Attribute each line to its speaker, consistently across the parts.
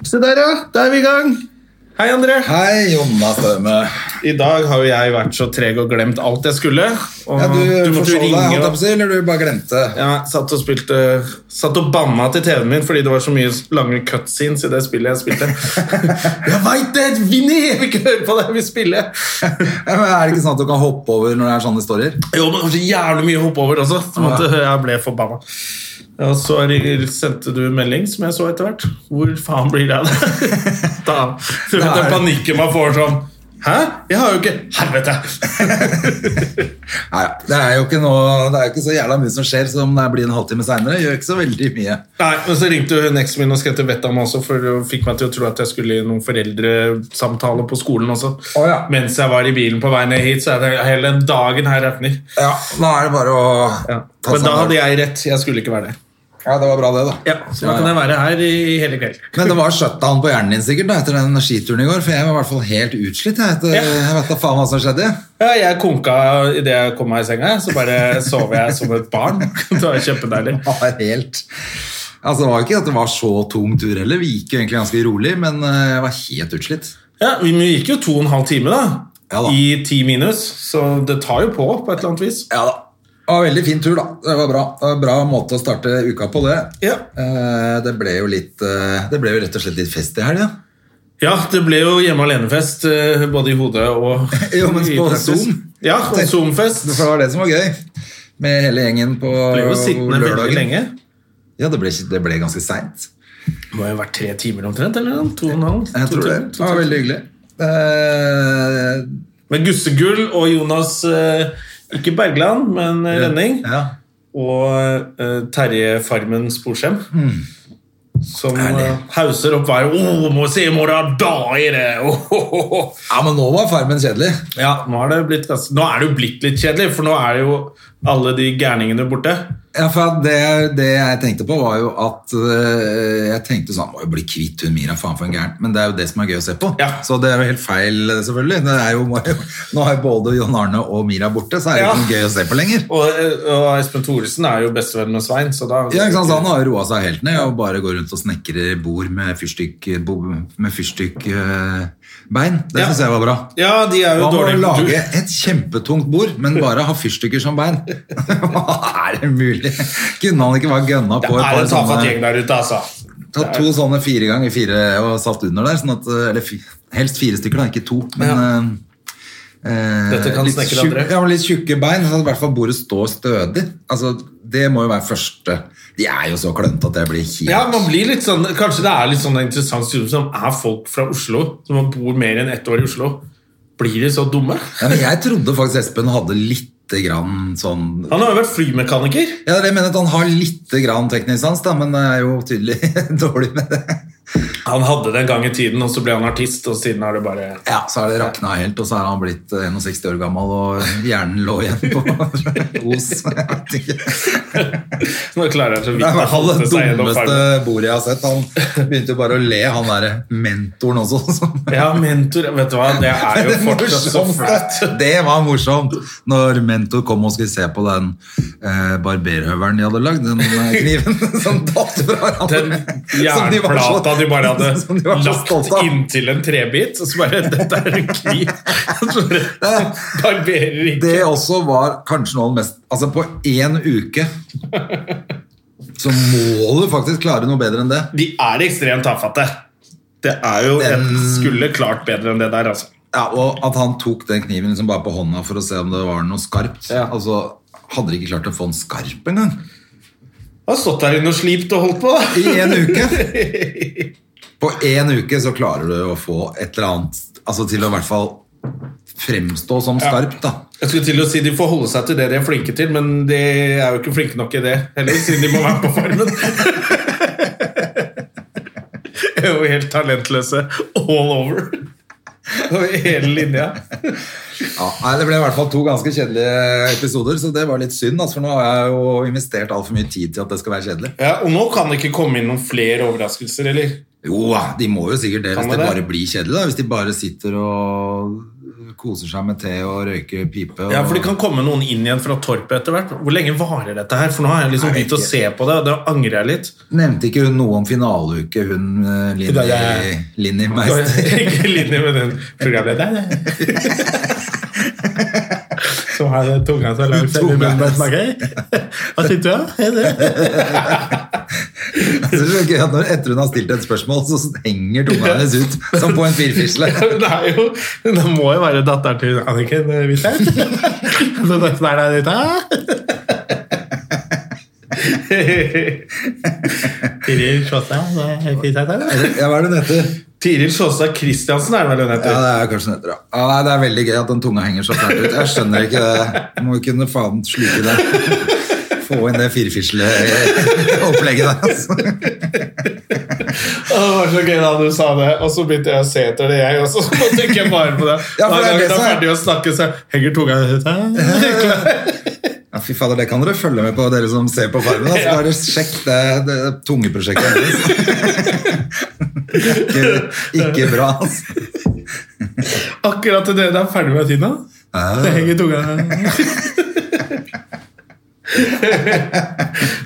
Speaker 1: Se der, ja. Da er vi i gang.
Speaker 2: Hei, André.
Speaker 1: Hei, Jonna Støme.
Speaker 2: I dag har jo jeg vært så treg og glemt alt jeg skulle. Og
Speaker 1: Ja, du,
Speaker 2: måtte jo
Speaker 1: forsov deg,
Speaker 2: ringe
Speaker 1: holdt jeg
Speaker 2: og-
Speaker 1: på å si, eller du bare glemte?
Speaker 2: Ja, satt og spilte Satt og banna til TV-en min fordi det var så mye lange cutscenes i det spillet jeg spilte. jeg veit det! Vinni! Jeg vil ikke høre på deg, vi spiller!
Speaker 1: Ja, men er det ikke sånn at du kan hoppe over når det er sånne historier?
Speaker 2: Jo, men det var så jævlig mye å hoppe over også. Som at jeg ble forbanna. Og så ri- sendte du melding, som jeg så etter hvert. Hvor faen blir det av det? da, du vet den
Speaker 1: er-
Speaker 2: panikken man får sånn Hæ? Jeg har jo ikke Helvete!
Speaker 1: Nei, det er jo ikke, noe, det er jo ikke så jævla mye som skjer som det blir en halvtime seinere. Gjør ikke så veldig mye.
Speaker 2: Nei, men så ringte hun eksen min og skrev til vettet meg også, for hun fikk meg til å tro at jeg skulle i noen foreldresamtaler på skolen også.
Speaker 1: Å, ja.
Speaker 2: Mens jeg var i bilen på vei ned hit, så er det hele den dagen her regner.
Speaker 1: Ja, Nå er det bare å
Speaker 2: Ja.
Speaker 1: ta
Speaker 2: Men da
Speaker 1: samtalen.
Speaker 2: hadde jeg rett. Jeg skulle ikke være der.
Speaker 1: Ja, det var bra, det, da.
Speaker 2: Ja, Så da kan jeg være her i hele kveld.
Speaker 1: Men det var shutdown på hjernen din sikkert da, etter den skituren i går, for jeg var i hvert fall helt utslitt. Jeg, etter,
Speaker 2: Ja.
Speaker 1: jeg vet da faen hva som skjedde.
Speaker 2: Ja, jeg konka idet jeg kom meg i senga, så bare sov jeg som et barn. Det var kjempedeilig.
Speaker 1: Det var helt... Altså, det var jo ikke at det var så tung tur heller. Vi gikk jo egentlig ganske rolig, men eh, jeg var helt utslitt.
Speaker 2: Ja, Vi gikk jo to og en halv time da,
Speaker 1: Ja da.
Speaker 2: i ti minus, så det tar jo på på et eller annet vis.
Speaker 1: Ja da. Det var veldig fin tur, da. Det var bra. Det var en bra måte å starte uka på, det.
Speaker 2: Ja.
Speaker 1: Eh, Det ble jo litt eh, Det ble jo rett og slett litt fest i helga.
Speaker 2: Ja, det ble jo hjemme alene-fest, eh, både i hodet og
Speaker 1: Jo, men
Speaker 2: i
Speaker 1: på
Speaker 2: praksis.
Speaker 1: Zoom.
Speaker 2: Ja, og Zoom-fest.
Speaker 1: For det var det som var gøy. Med hele gjengen på
Speaker 2: Ble jo sittende veldig
Speaker 1: lørdagen.
Speaker 2: lenge.
Speaker 1: Ja, det ble, det ble ganske seint.
Speaker 2: Det må jo ha vært tre timer omtrent, eller noe? to og en halv?
Speaker 1: Jeg
Speaker 2: To
Speaker 1: tror det.
Speaker 2: timer,
Speaker 1: Det
Speaker 2: to
Speaker 1: var
Speaker 2: timer.
Speaker 1: veldig hyggelig. Eh,
Speaker 2: Med Gussegull og Jonas, eh, ikke Bergland, men eh, Rønning.
Speaker 1: Ja.
Speaker 2: og eh, Terje Farmen Sporsem. Som
Speaker 1: Hmm. Herlig.
Speaker 2: eh, hauser opp hver oh, må se i morgen, da er det oh, oh, oh.
Speaker 1: ja, men nå var Farmen kjedelig.
Speaker 2: Ja, nå er det, blitt ganske, nå er det jo blitt litt kjedelig, for nå er jo alle de gærningene borte.
Speaker 1: Ja, for at det, det jeg tenkte på var jo at øh, Jeg tenkte sånn, må jo bli kvitt hun Mira, faen for en gæren. Men det er jo det som er gøy å se på.
Speaker 2: Ja.
Speaker 1: Så det er jo helt feil, selvfølgelig. Det er jo, må jo, nå er jo både John Arne og Mira borte, så er det jo
Speaker 2: Ja.
Speaker 1: ikke noe gøy å se på lenger.
Speaker 2: Og, eh, og Espen Thoresen er jo bestevenn med Svein, så da
Speaker 1: Ja, ikke sant? Så Han har jo roa seg helt ned og bare går rundt og snekrer bord med fyrstikkbein. Fyrstikk, øh, bein. det
Speaker 2: Ja.
Speaker 1: syns jeg var bra.
Speaker 2: Ja, de er
Speaker 1: Hva
Speaker 2: jo
Speaker 1: med å
Speaker 2: dårlige på
Speaker 1: lage
Speaker 2: tur.
Speaker 1: et kjempetungt bord, men bare ha fyrstikker som bein? Hva er det mulig? Kunne han ikke bare gønna
Speaker 2: Det
Speaker 1: på et
Speaker 2: er
Speaker 1: par
Speaker 2: en tafatt gjeng der ute, altså.
Speaker 1: Tatt to sånne fire ganger fire og satt under der. Sånn at, eller fi- helst fire stykker, da, ikke to. Men, eh, eh,
Speaker 2: Dette kan
Speaker 1: litt
Speaker 2: snekker
Speaker 1: tjukk-
Speaker 2: andre.
Speaker 1: Ja, men litt tjukke bein, sånn at i hvert fall bordet står stødig. Altså, det må jo være første De er jo så klønete at jeg blir helt
Speaker 2: Ja, man blir litt sånn, Kanskje det er litt sånn interessant studie som er folk fra Oslo, som har bor mer enn ett år i Oslo. Blir de så dumme?
Speaker 1: ja, men Jeg trodde faktisk Espen hadde lite grann sånn
Speaker 2: Han har jo vært flymekaniker.
Speaker 1: Ja, det er det jeg mener at han har lite grann teknisk sans, da, men det er jo tydelig dårlig med det.
Speaker 2: Han hadde det en gang i tiden, og så ble han artist, og siden har det bare
Speaker 1: Ja, så er det rakna helt, og så er han blitt eh, 61 år gammel, og hjernen lå igjen på os. Jeg vet ikke.
Speaker 2: Nå klarer han så
Speaker 1: Det er i
Speaker 2: vidt å
Speaker 1: hvert fall
Speaker 2: holde
Speaker 1: det
Speaker 2: seg gjennom
Speaker 1: dummeste
Speaker 2: farmen.
Speaker 1: bordet jeg har sett. Han begynte jo bare å le, han derre mentoren også. som-
Speaker 2: Ja, mentor Vet du hva, det er jo
Speaker 1: Det
Speaker 2: fortsatt så flaut.
Speaker 1: morsomste- det var morsomt når mentor kom og skulle se på den eh, barberhøvelen de hadde lagd, den eh, kniven som datt fra
Speaker 2: Den
Speaker 1: hverandre. Som de var så-
Speaker 2: jernplata de bare
Speaker 1: som
Speaker 2: hadde
Speaker 1: de var så
Speaker 2: lagt
Speaker 1: stolte av.
Speaker 2: inntil en trebit, og så bare Dette er en kniv! Så bare Barberer ikke.
Speaker 1: Det også var kanskje noe av det mest Altså, på én uke så må du faktisk klare noe bedre enn det.
Speaker 2: De er ekstremt tafatte. Det er jo
Speaker 1: Den-
Speaker 2: Jeg skulle klart bedre enn det der, altså.
Speaker 1: Ja, og at han tok den kniven liksom bare på hånda for å se om det var noe skarpt.
Speaker 2: Ja.
Speaker 1: Altså, hadde de ikke klart å få en skarp engang?
Speaker 2: Han har stått der inne og slipt og holdt på.
Speaker 1: I en uke! På én uke så klarer du å få et eller annet Altså til å i hvert fall fremstå som skarpt, da.
Speaker 2: Jeg skulle til å si De får holde seg til det de er flinke til, men de er jo ikke flinke nok i det heller, siden de må være på farmen. jo helt talentløse all over. Over hele linja.
Speaker 1: Ja, nei, Det ble i hvert fall to ganske kjedelige episoder, så det var litt synd. Altså, for nå har jeg jo investert altfor mye tid til at det skal være kjedelig.
Speaker 2: Ja, og nå kan det ikke komme inn noen flere overraskelser, eller?
Speaker 1: Jo, de må jo sikkert det
Speaker 2: Kan
Speaker 1: hvis det
Speaker 2: det?
Speaker 1: bare blir kjedelig. da Hvis de bare sitter og koser seg med te og røyker pipe. Og...
Speaker 2: Ja, for det kan komme noen inn igjen fra torpet etter hvert. Hvor lenge varer dette her? For nå har jeg liksom
Speaker 1: Nei,
Speaker 2: begynt å
Speaker 1: ikke.
Speaker 2: se på det, og da angrer jeg litt.
Speaker 1: Nevnte ikke hun noe om finaleuke, hun eh,
Speaker 2: Det
Speaker 1: Linni
Speaker 2: er-
Speaker 1: Linni Meister?
Speaker 2: Ikke linje med den programlederen. Som har tunga så
Speaker 1: Tunga.
Speaker 2: langt selv om den smaker. Hva syns du? Er det?
Speaker 1: Jeg synes det er gøy at når, etter hun har stilt et spørsmål, så henger tunga hennes ut som på en firfisle.
Speaker 2: Hun er jo Det må jo være datteren til Anniken eh, Huitfeldt. Så det er der ute Tiril Sjåstad.
Speaker 1: Ja, hva er det hun heter?
Speaker 2: Tiril Sjåstad Christiansen er det vel hun
Speaker 1: Ja,
Speaker 2: heter.
Speaker 1: det er kanskje hun heter, ja. ja. nei, Det er veldig gøy at den tunga henger så fælt ut. Jeg skjønner ikke det. Du må jo kunne faen sluke det. Få inn det firfisle-opplegget der. Altså.
Speaker 2: Å, Det var så gøy da du sa det, og så begynte jeg å se etter det, jeg også. Så tenker jeg bare på det.
Speaker 1: Ja, for det er det
Speaker 2: Hver gang hun
Speaker 1: som
Speaker 2: er
Speaker 1: er-
Speaker 2: ferdig å snakke, så henger tunga
Speaker 1: Ja, fy fader, Det kan dere følge med på, dere som ser på Farmen. Altså, bare sjekk det, det tungeprosjektet hennes. Ikke, ikke bra, altså.
Speaker 2: Akkurat til dere er ferdig med tiden.
Speaker 1: Ah.
Speaker 2: Det henger tunga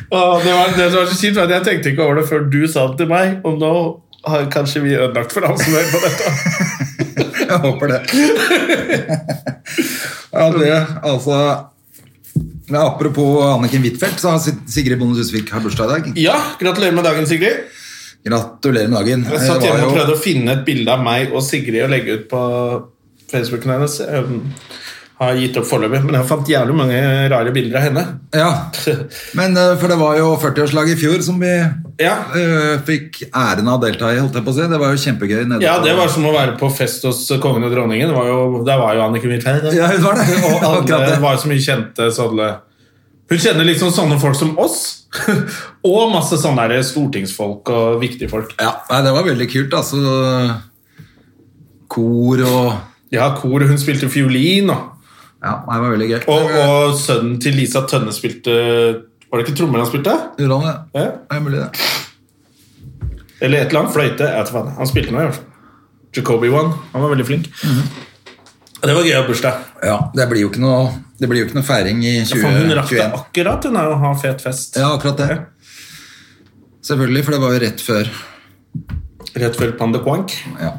Speaker 2: Å, det, var, det som var så kjipt, var at jeg tenkte ikke over det før du sa det til meg, og nå har kanskje vi ødelagt for ham som hører på dette.
Speaker 1: Jeg håper det. Ja, det, altså men Apropos Anniken Huitfeldt, så har Sig- Sigrid Bonde Tusvik har bursdag i dag.
Speaker 2: Ja, gratulerer med dagen, Sigrid.
Speaker 1: Gratulerer med dagen.
Speaker 2: Jeg satt
Speaker 1: Det var
Speaker 2: hjemme og
Speaker 1: jo-
Speaker 2: prøvde å finne et bilde av meg og Sigrid å legge ut på Facebooken hennes. Jeg har gitt opp foreløpig, men jeg fant jævlig mange rare bilder av henne.
Speaker 1: Ja, men eh, for det var jo 40-årslaget i fjor som vi
Speaker 2: Ja,
Speaker 1: eh, fikk æren av å delta i, holdt jeg på å si. Det var jo kjempegøy. Nede
Speaker 2: ja
Speaker 1: på-
Speaker 2: det var som å være på fest hos kongen og dronningen. Det var jo, der var jo Anniken Huitfeldt.
Speaker 1: Ja, hun var det.
Speaker 2: Og
Speaker 1: Akkurat
Speaker 2: alle
Speaker 1: det.
Speaker 2: var jo så mye kjente sånne Hun kjenner liksom sånne folk som oss. og masse sånne der stortingsfolk og viktige folk.
Speaker 1: Ja, nei, det var veldig kult, altså. Kor og
Speaker 2: Ja, kor. Hun spilte fiolin, og,
Speaker 1: Ja, nei, det var veldig gøy.
Speaker 2: og, og sønnen til Lisa Tønne spilte Var det ikke trommer han spilte?
Speaker 1: Gjorde han det?
Speaker 2: Ja.
Speaker 1: Det er mulig, det.
Speaker 2: Eller et eller annet. Fløyte. Jeg vet ikke hva. Han spilte noe, i hvert fall. Jacobi One. Han var veldig flink.
Speaker 1: Mhm.
Speaker 2: Det var gøy å ha bursdag.
Speaker 1: Ja, det blir jo ikke noe, det blir jo ikke noe feiring i
Speaker 2: For hun rakk det
Speaker 1: 2021.
Speaker 2: akkurat hun er å ha fet fest.
Speaker 1: Ja, akkurat det. Selvfølgelig, for det var jo rett før.
Speaker 2: Rett før Panda Quank.
Speaker 1: Ja.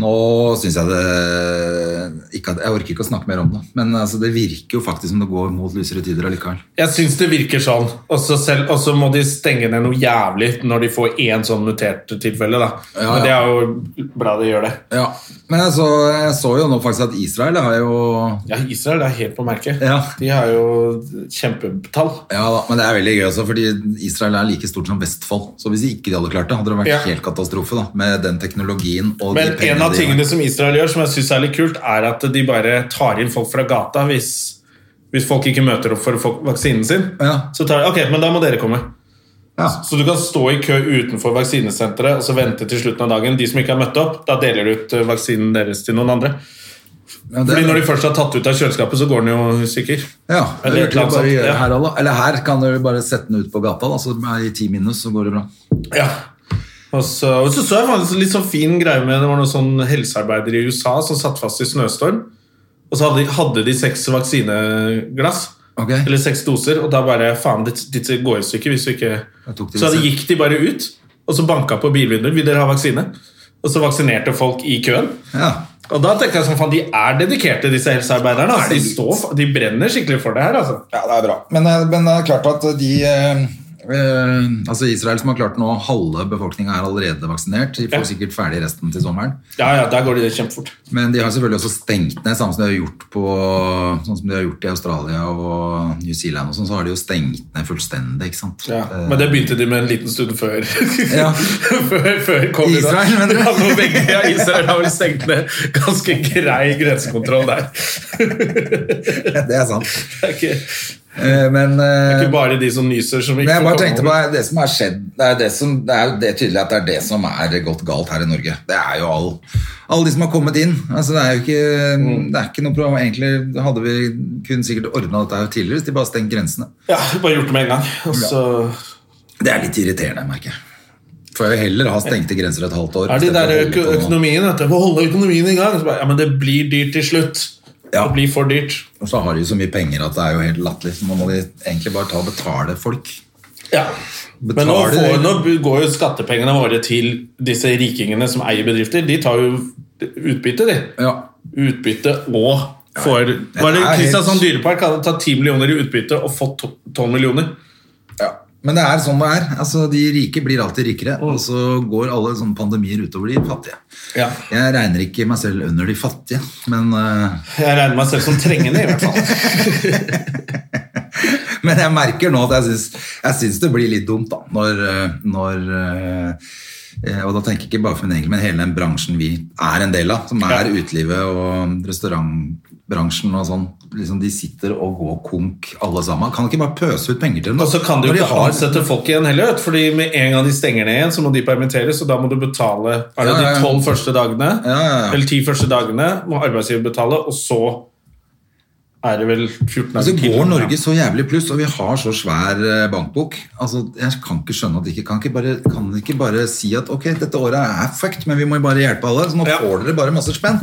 Speaker 1: Nå syns jeg det ikke at, Jeg orker ikke å snakke mer om det. Men altså, det virker jo faktisk som det går mot lysere tider allikevel.
Speaker 2: Jeg syns det virker sånn. Og så selv- og så må de stenge ned noe jævlig når de får én sånn mutert tilfelle. da.
Speaker 1: Ja,
Speaker 2: Men det
Speaker 1: ja.
Speaker 2: er jo bra de gjør det.
Speaker 1: Ja. Men jeg så, jeg så jo nå faktisk at Israel har jo
Speaker 2: Ja, Israel er helt på merket.
Speaker 1: Ja.
Speaker 2: De har jo kjempetall.
Speaker 1: Ja da, men det er veldig gøy også, fordi Israel er like stort som Vestfold. Så hvis ikke de hadde klart det, hadde det vært
Speaker 2: Ja.
Speaker 1: helt katastrofe da, med den teknologien og
Speaker 2: Men
Speaker 1: de
Speaker 2: en av
Speaker 1: de-
Speaker 2: tingene som Israel gjør, som jeg syns er litt kult, er at de bare tar inn folk fra gata hvis, hvis folk ikke møter opp for å få vaksinen sin.
Speaker 1: Ja.
Speaker 2: Så tar de, ok, men da må dere komme.
Speaker 1: Ja.
Speaker 2: Så du kan stå i kø utenfor vaksinesenteret og så vente til slutten av dagen. De som ikke har møtt opp, da deler du ut eh, vaksinen deres til noen andre.
Speaker 1: Ja, det,
Speaker 2: Fordi Når de først har tatt ut av kjøleskapet, så går den jo sikker.
Speaker 1: ja, det
Speaker 2: Eller
Speaker 1: burde du
Speaker 2: et eller annet
Speaker 1: bare
Speaker 2: sånt,
Speaker 1: gjøre
Speaker 2: ja.
Speaker 1: her også. Eller her kan du bare sette den ut på gata, da, så er i ti minus, så går det bra.
Speaker 2: Ja. Og så, og så så jeg faktisk litt sånn fin greie med Det var noen sånn helsearbeidere i USA som satt fast i snøstorm. Og så hadde de, hadde de seks vaksineglass,
Speaker 1: Ok?
Speaker 2: eller seks doser, og da bare Faen, dette, dette går i stykker hvis vi ikke
Speaker 1: Jeg tok det
Speaker 2: Så da
Speaker 1: selv.
Speaker 2: gikk de bare ut, og så banka på bilvinduer. Vil dere ha vaksine? Og så vaksinerte folk i køen.
Speaker 1: Ja.
Speaker 2: Og da tenker jeg sånn, faen, De er dedikerte, disse helsearbeiderne. Altså. De, står, for- de brenner skikkelig for det her. altså.
Speaker 1: ja, det er bra. Men, eh, men det er klart at de eh, eh, altså Israel som har klart nå halve befolkninga er allerede vaksinert. De får
Speaker 2: Ja.
Speaker 1: sikkert ferdig resten til sommeren.
Speaker 2: Ja, ja, Der går de kjempefort.
Speaker 1: Men de har selvfølgelig også stengt ned, samme som de har gjort, på, sånn som de har gjort i Australia og New Zealand. og sånn, Så har de jo stengt ned fullstendig. ikke sant?
Speaker 2: Ja.
Speaker 1: Eh,
Speaker 2: Men det begynte de med en liten stund før.
Speaker 1: Ja.
Speaker 2: før, før covid.
Speaker 1: Israel, mener du?
Speaker 2: Ja, nå begge, ja, Israel har vel stengt ned ganske grei grensekontroll der.
Speaker 1: det er sant.
Speaker 2: Det er ikke,
Speaker 1: Eh, Men eh,
Speaker 2: Ikke bare de som nyser som ikke
Speaker 1: Men jeg bare
Speaker 2: får komme
Speaker 1: tenkte på
Speaker 2: over.
Speaker 1: det som har skjedd Det er, det som, det er jo det tydelig at det er det som er gått galt her i Norge. Det er jo all, alle de som har kommet inn. Altså det er jo ikke,
Speaker 2: Mm.
Speaker 1: det er ikke noe problem. Egentlig hadde vi kun sikkert ordna dette her tidligere hvis de bare stengte grensene.
Speaker 2: Ja, bare gjort det med en gang. Og så
Speaker 1: Det er litt irriterende, merker jeg. Får jeg heller ha stengte grenser et halvt år.
Speaker 2: er de
Speaker 1: istedenfor
Speaker 2: der
Speaker 1: å holde
Speaker 2: øko
Speaker 1: på nå.
Speaker 2: økonomien at jeg må holde økonomien i gang. Så bare, ja, men det blir dyrt til slutt.
Speaker 1: Ja.
Speaker 2: Det blir for dyrt.
Speaker 1: Og så har de jo så mye penger at det er jo helt latterlig. Så nå må de egentlig bare ta og betale folk.
Speaker 2: Ja. Men nå,
Speaker 1: Betaler-
Speaker 2: får, nå går jo skattepengene våre til disse rikingene som eier bedrifter. De tar jo utbytte, de.
Speaker 1: Ja.
Speaker 2: Utbytte og får Var
Speaker 1: er
Speaker 2: det
Speaker 1: helt-
Speaker 2: Kristiansand Dyrepark hadde tatt 10 millioner i utbytte og fått to- 12 millioner?
Speaker 1: ja. Men det er sånn det er. Altså, de rike blir alltid rikere,
Speaker 2: Mm.
Speaker 1: og så går alle sånne pandemier utover de fattige.
Speaker 2: Ja.
Speaker 1: Jeg regner ikke meg selv under de fattige, men, eh,
Speaker 2: Jeg regner meg selv som trengende, i hvert fall.
Speaker 1: men jeg merker nå at jeg syns, jeg syns det blir litt dumt, da. Når, eh, når eh, eh, Og da tenker jeg ikke bare for min egen, men hele den bransjen vi er en del av, som er
Speaker 2: Ja.
Speaker 1: utelivet og restaurantbransjen og sånn. Liksom de sitter og går konk, alle sammen. Kan ikke bare pøse ut penger til dem? da?
Speaker 2: Og så kan du
Speaker 1: Når
Speaker 2: jo
Speaker 1: de
Speaker 2: ikke
Speaker 1: har-
Speaker 2: ansette folk igjen heller, vet du, fordi med en gang de stenger ned igjen, så må de permitteres, og da må du betale er det
Speaker 1: Ja, ja, ja.
Speaker 2: de tolv første dagene,
Speaker 1: Ja, ja, ja.
Speaker 2: eller ti første dagene, må arbeidsgiver betale, og så er det vel 14
Speaker 1: Altså
Speaker 2: til.
Speaker 1: går Norge så jævlig pluss, og vi har så svær eh, bankbok. Altså, Jeg kan ikke skjønne at de ikke kan ikke bare, kan de ikke bare si at ok, dette året er fucked, men vi må jo bare hjelpe alle. Så nå
Speaker 2: Ja.
Speaker 1: får dere bare masse spenn.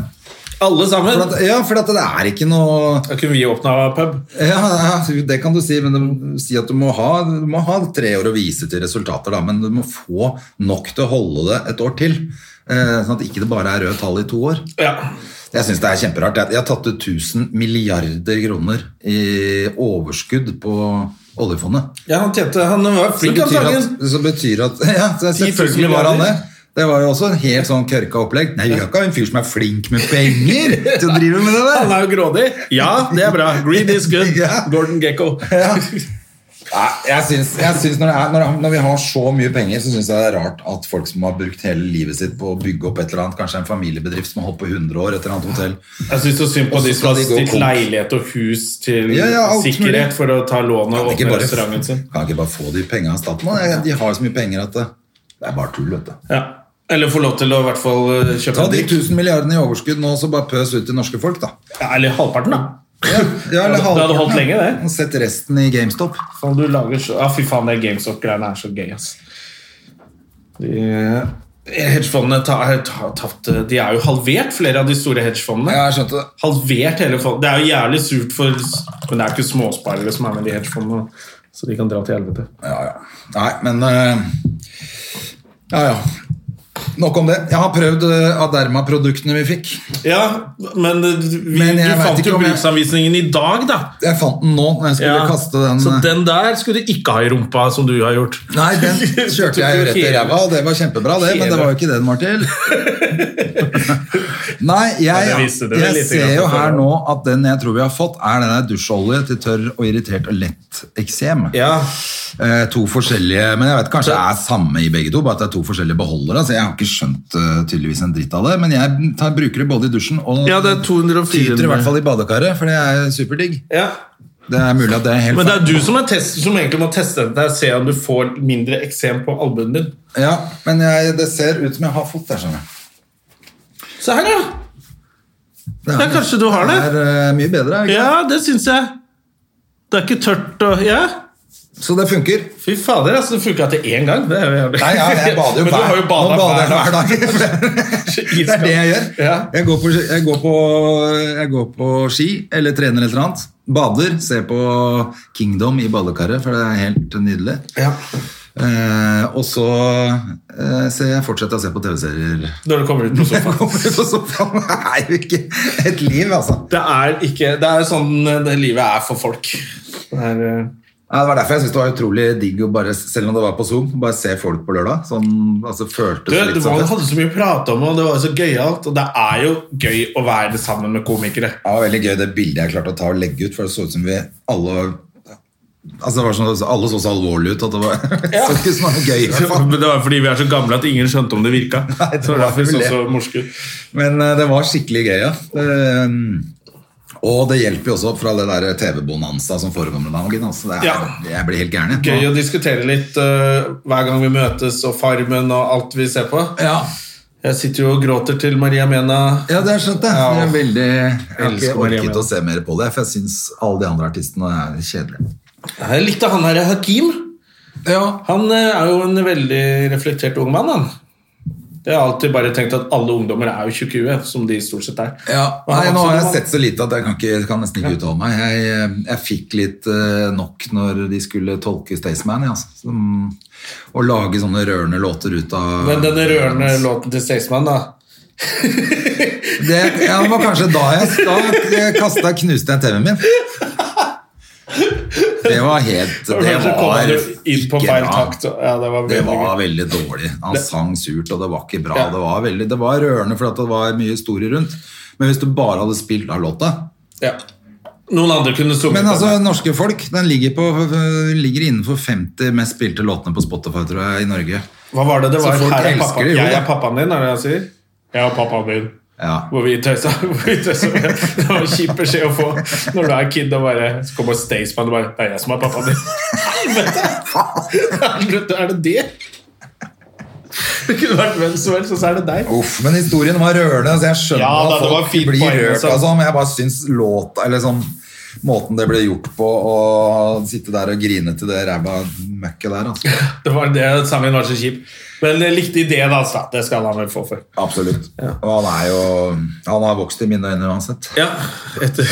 Speaker 2: Alle
Speaker 1: For
Speaker 2: sammen!
Speaker 1: at, ja, for at det er ikke noe
Speaker 2: Da kunne vi åpna pub.
Speaker 1: ja, ja, det kan du si, men du, si at du må, ha, du må ha tre år å vise til resultater, da, men du må få nok til å holde det et år til. Eh, sånn at ikke det bare er røde tall i to år.
Speaker 2: Ja.
Speaker 1: Jeg syns det er kjemperart. Jeg jeg har tatt ut 1000 milliarder kroner i overskudd på oljefondet.
Speaker 2: ja, han tjente Han var
Speaker 1: Så
Speaker 2: flink,
Speaker 1: det
Speaker 2: han
Speaker 1: betyr at,
Speaker 2: Sagen.
Speaker 1: så betyr at Ja, så
Speaker 2: 10 000
Speaker 1: selvfølgelig var han det.
Speaker 2: milliarder.
Speaker 1: Det var jo også en helt sånn kørka opplegg. Nei, vi har ikke ha en fyr som er flink med penger til å drive med det
Speaker 2: Han
Speaker 1: der!
Speaker 2: er jo grådig. Ja, det er bra. Greed is good.
Speaker 1: Ja.
Speaker 2: Gordon Gekko.
Speaker 1: Ja. Nei, jeg syns, jeg syns når, det er, når, det- når vi har så mye penger, så syns jeg det er rart at folk som har brukt hele livet sitt på å bygge opp et eller annet, kanskje en familiebedrift som har holdt på i 100 år, et eller annet hotell
Speaker 2: Jeg syns så synd på
Speaker 1: Og så
Speaker 2: de som
Speaker 1: skal
Speaker 2: har
Speaker 1: de gå
Speaker 2: stilt
Speaker 1: konk.
Speaker 2: leilighet og hus til
Speaker 1: Ja, ja, alt
Speaker 2: sikkerhet
Speaker 1: mulig.
Speaker 2: for å ta lån og
Speaker 1: Kan ikke
Speaker 2: åpne
Speaker 1: bare,
Speaker 2: restauranten sin.
Speaker 1: kan ikke bare få de pengene av staten? da? Jeg- De har jo så mye penger at det, det er bare tull, vet du.
Speaker 2: Ja. Eller få lov til å i hvert fall eh, kjøpe
Speaker 1: Ta
Speaker 2: en
Speaker 1: de
Speaker 2: drikk.
Speaker 1: 1000 milliardene i overskudd nå, så bare pøs ut til norske folk, da.
Speaker 2: Ja, eller halvparten, da.
Speaker 1: Ja, ja, eller
Speaker 2: Det hadde holdt
Speaker 1: halvparten, da.
Speaker 2: lenge, det.
Speaker 1: Og sett resten i GameStop.
Speaker 2: Faen, du lager så... Ja, fy faen, det GameStop-greiene er så gøy, ass. De eh, hedgefondene ta, ta, tapt, eh, De er jo halvert, flere av de store hedgefondene.
Speaker 1: Ja, jeg skjønte det.
Speaker 2: halvert hele fondet. Det er jo jævlig surt for Men det er ikke småsparere som er med i hedgefondene, så de kan dra til helvete.
Speaker 1: Ja, ja. Nei, men eh, Ja, ja. Nok om det. Jeg har prøvd eh, Aderma-produktene vi fikk.
Speaker 2: Ja, men eh, vi,
Speaker 1: Men jeg
Speaker 2: du
Speaker 1: vet
Speaker 2: fant
Speaker 1: ikke
Speaker 2: jo
Speaker 1: om jeg-
Speaker 2: bruksanvisningen i dag, da.
Speaker 1: Jeg fant den nå når jeg skulle
Speaker 2: Ja,
Speaker 1: kaste den.
Speaker 2: Så
Speaker 1: eh,
Speaker 2: den der skulle du ikke ha i rumpa, som du har gjort.
Speaker 1: Nei, den kjørte jeg jo rett i ræva, og det var kjempebra, det, men det var jo ikke det den var til. Nei, jeg,
Speaker 2: Ja, det viste det vel
Speaker 1: jeg
Speaker 2: lite
Speaker 1: ser
Speaker 2: grann
Speaker 1: jo
Speaker 2: på
Speaker 1: her
Speaker 2: forhånd.
Speaker 1: nå at den jeg tror vi har fått, er den der dusjolje til tørr og irritert og lett eksem.
Speaker 2: Ja,
Speaker 1: Eh, to forskjellige, men jeg vet kanskje det er samme i begge to, bare at det er to forskjellige beholdere, så jeg har ikke skjønt eh, tydeligvis en dritt av det, men jeg tar, bruker det både i dusjen og
Speaker 2: ja det er 204
Speaker 1: tyter i hvert fall i badekaret, for det er superdigg.
Speaker 2: Ja.
Speaker 1: Det er mulig at det er helt
Speaker 2: Men det
Speaker 1: feil.
Speaker 2: er du som, er test, som egentlig må teste dette her, se om du får mindre eksem på albuen din.
Speaker 1: Ja, men jeg, det ser ut som jeg har fått der, skjønner jeg.
Speaker 2: Se her, ja!
Speaker 1: Det
Speaker 2: Ja, kanskje du har det?
Speaker 1: er eh, mye bedre. er det Ikke?
Speaker 2: Ja, det syns jeg. Det er ikke tørt og Ja.
Speaker 1: Så det funker.
Speaker 2: Fy fader, altså, det funka til én gang. Det er jo jævlig.
Speaker 1: Nei, ja, jeg bader jo
Speaker 2: Men du har jo
Speaker 1: hver,
Speaker 2: badet
Speaker 1: nå bader jeg
Speaker 2: hver dag.
Speaker 1: hver dag. det er det jeg gjør.
Speaker 2: Ja.
Speaker 1: Jeg, går på, jeg, går på, jeg går på ski eller trener et eller annet. Bader. Ser på Kingdom i badekaret, for det er helt nydelig.
Speaker 2: Ja.
Speaker 1: Eh, og så eh, ser jeg fortsetter å se på TV-serier.
Speaker 2: Når du kommer ut på sofaen.
Speaker 1: Kommer på sofaen. Det er jo ikke et liv, altså.
Speaker 2: Det er ikke Det er sånn det livet er for folk. Det er, eh,
Speaker 1: Ja, det var derfor jeg syntes det var utrolig digg å bare, selv om det var på Zoom, bare se folk på lørdag. Sånn, altså føltes
Speaker 2: du,
Speaker 1: litt sånn.
Speaker 2: det
Speaker 1: som
Speaker 2: var,
Speaker 1: fest.
Speaker 2: hadde så mye å prate om, og det var så gøyalt. Og det er jo gøy å være sammen med komikere.
Speaker 1: Ja, Det var veldig gøy det bildet jeg klarte å ta og legge ut, for det så ut som vi alle var Altså det var sånn, Alle så så alvorlige ut at det var så ikke som noe gøy. i hvert fall.
Speaker 2: Men det var fordi vi er så gamle at ingen skjønte om det virka.
Speaker 1: Nei, det
Speaker 2: Så
Speaker 1: var
Speaker 2: derfor vi
Speaker 1: vel
Speaker 2: så
Speaker 1: det.
Speaker 2: så morske ut.
Speaker 1: Men eh, det var skikkelig gøy, ja. Det, um, Og det hjelper jo også opp fra det der TV-bonanza som foregår med dagen. Altså. Det er,
Speaker 2: Ja.
Speaker 1: Jeg blir helt gæren. jeg.
Speaker 2: Gøy å diskutere litt eh, hver gang vi møtes, og Farmen og alt vi ser på.
Speaker 1: Ja.
Speaker 2: Jeg sitter jo og gråter til Maria Mena.
Speaker 1: ja, det har jeg skjønt, det.
Speaker 2: Ja.
Speaker 1: Jeg, er veldig, jeg har
Speaker 2: Elsker
Speaker 1: ikke
Speaker 2: Maria
Speaker 1: orket
Speaker 2: Mena.
Speaker 1: å se mer på det, for jeg syns alle de andre artistene er kjedelige.
Speaker 2: Jeg likte han her Hakim.
Speaker 1: Ja.
Speaker 2: Han eh, er jo en veldig reflektert ung mann, han. Jeg har alltid bare tenkt at alle ungdommer er jo tjukke i huet, som de stort sett er.
Speaker 1: Ja,
Speaker 2: Og han
Speaker 1: nei,
Speaker 2: var
Speaker 1: Nå har jeg
Speaker 2: sånn,
Speaker 1: sett så lite at jeg kan, ikke, kan nesten ikke uttale meg. Jeg, eh, jeg fikk litt eh, nok når de skulle tolke Staysman. Ja, altså, som, og lage sånne rørende låter ut av
Speaker 2: Men denne rørende låten til Staysman, da.
Speaker 1: Det, ja, det var kanskje da jeg da kasta knuste jeg TV-en min. Det var helt Det
Speaker 2: Så kom
Speaker 1: var
Speaker 2: han jo inn på
Speaker 1: ikke
Speaker 2: feil
Speaker 1: bra.
Speaker 2: takt. og- Ja, det var
Speaker 1: Det
Speaker 2: veldig
Speaker 1: var
Speaker 2: gøy.
Speaker 1: veldig dårlig. Han sang surt, og det var ikke bra.
Speaker 2: Ja.
Speaker 1: Det var, veldig, det var rørende fordi at det var mye historie rundt. Men hvis du bare hadde spilt av låta
Speaker 2: Ja. Noen andre kunne sunget
Speaker 1: Men altså,
Speaker 2: den.
Speaker 1: norske folk den ligger, på, øh, ligger innenfor 50 mest spilte låtene på Spotify, tror jeg, i Norge.
Speaker 2: Hva var det det
Speaker 1: Så
Speaker 2: var?
Speaker 1: folk
Speaker 2: Her er
Speaker 1: elsker
Speaker 2: pappa.
Speaker 1: det jo,
Speaker 2: Jeg
Speaker 1: da.
Speaker 2: er pappaen din, er det jeg sier? Jeg er pappaen din.
Speaker 1: Ja.
Speaker 2: Hvor vi tøysa. Hvor vi tøysa. med. Det var en kjip beskjed å få når du er kid og bare Så kommer Staysman og bare Det er jeg som er pappaen din. Helvete! Helvete, Er det det? Det kunne vært hvem som helst, og så er det deg.
Speaker 1: Uff, men historien var rørende, så jeg skjønner
Speaker 2: Ja, da,
Speaker 1: at
Speaker 2: det var
Speaker 1: folk
Speaker 2: fint
Speaker 1: blir
Speaker 2: poeng,
Speaker 1: rørt.
Speaker 2: altså.
Speaker 1: Altså, men jeg bare syns låta Eller sånn måten det ble gjort på, og sitte der og grine til det ræva møkket der, altså.
Speaker 2: Det var det sangen var så kjip. Men jeg likte ideen hans, da. Det skal han vel få for.
Speaker 1: Absolutt. Og han er jo Han har vokst i mine øyne uansett.
Speaker 2: Ja, etter,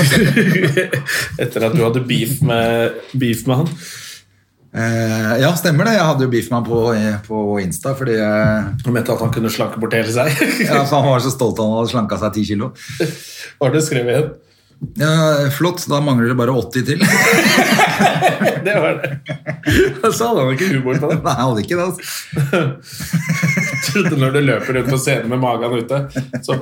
Speaker 2: etter at du hadde beef med, beef med han.
Speaker 1: Eh, ja, stemmer det. Jeg hadde jo beef med ham på, på Insta fordi jeg
Speaker 2: Du mente at han kunne slanke bort hele seg.
Speaker 1: ja, for Han var så stolt av han hadde slanka seg 10 kilo.
Speaker 2: Var det skrevet igjen?
Speaker 1: Ja, flott, da mangler det bare 80 til.
Speaker 2: Det var det. Så hadde han ikke humor på det.
Speaker 1: Nei, jeg hadde ikke det. Altså.
Speaker 2: trodde når du løper rundt på scenen med magen ute, så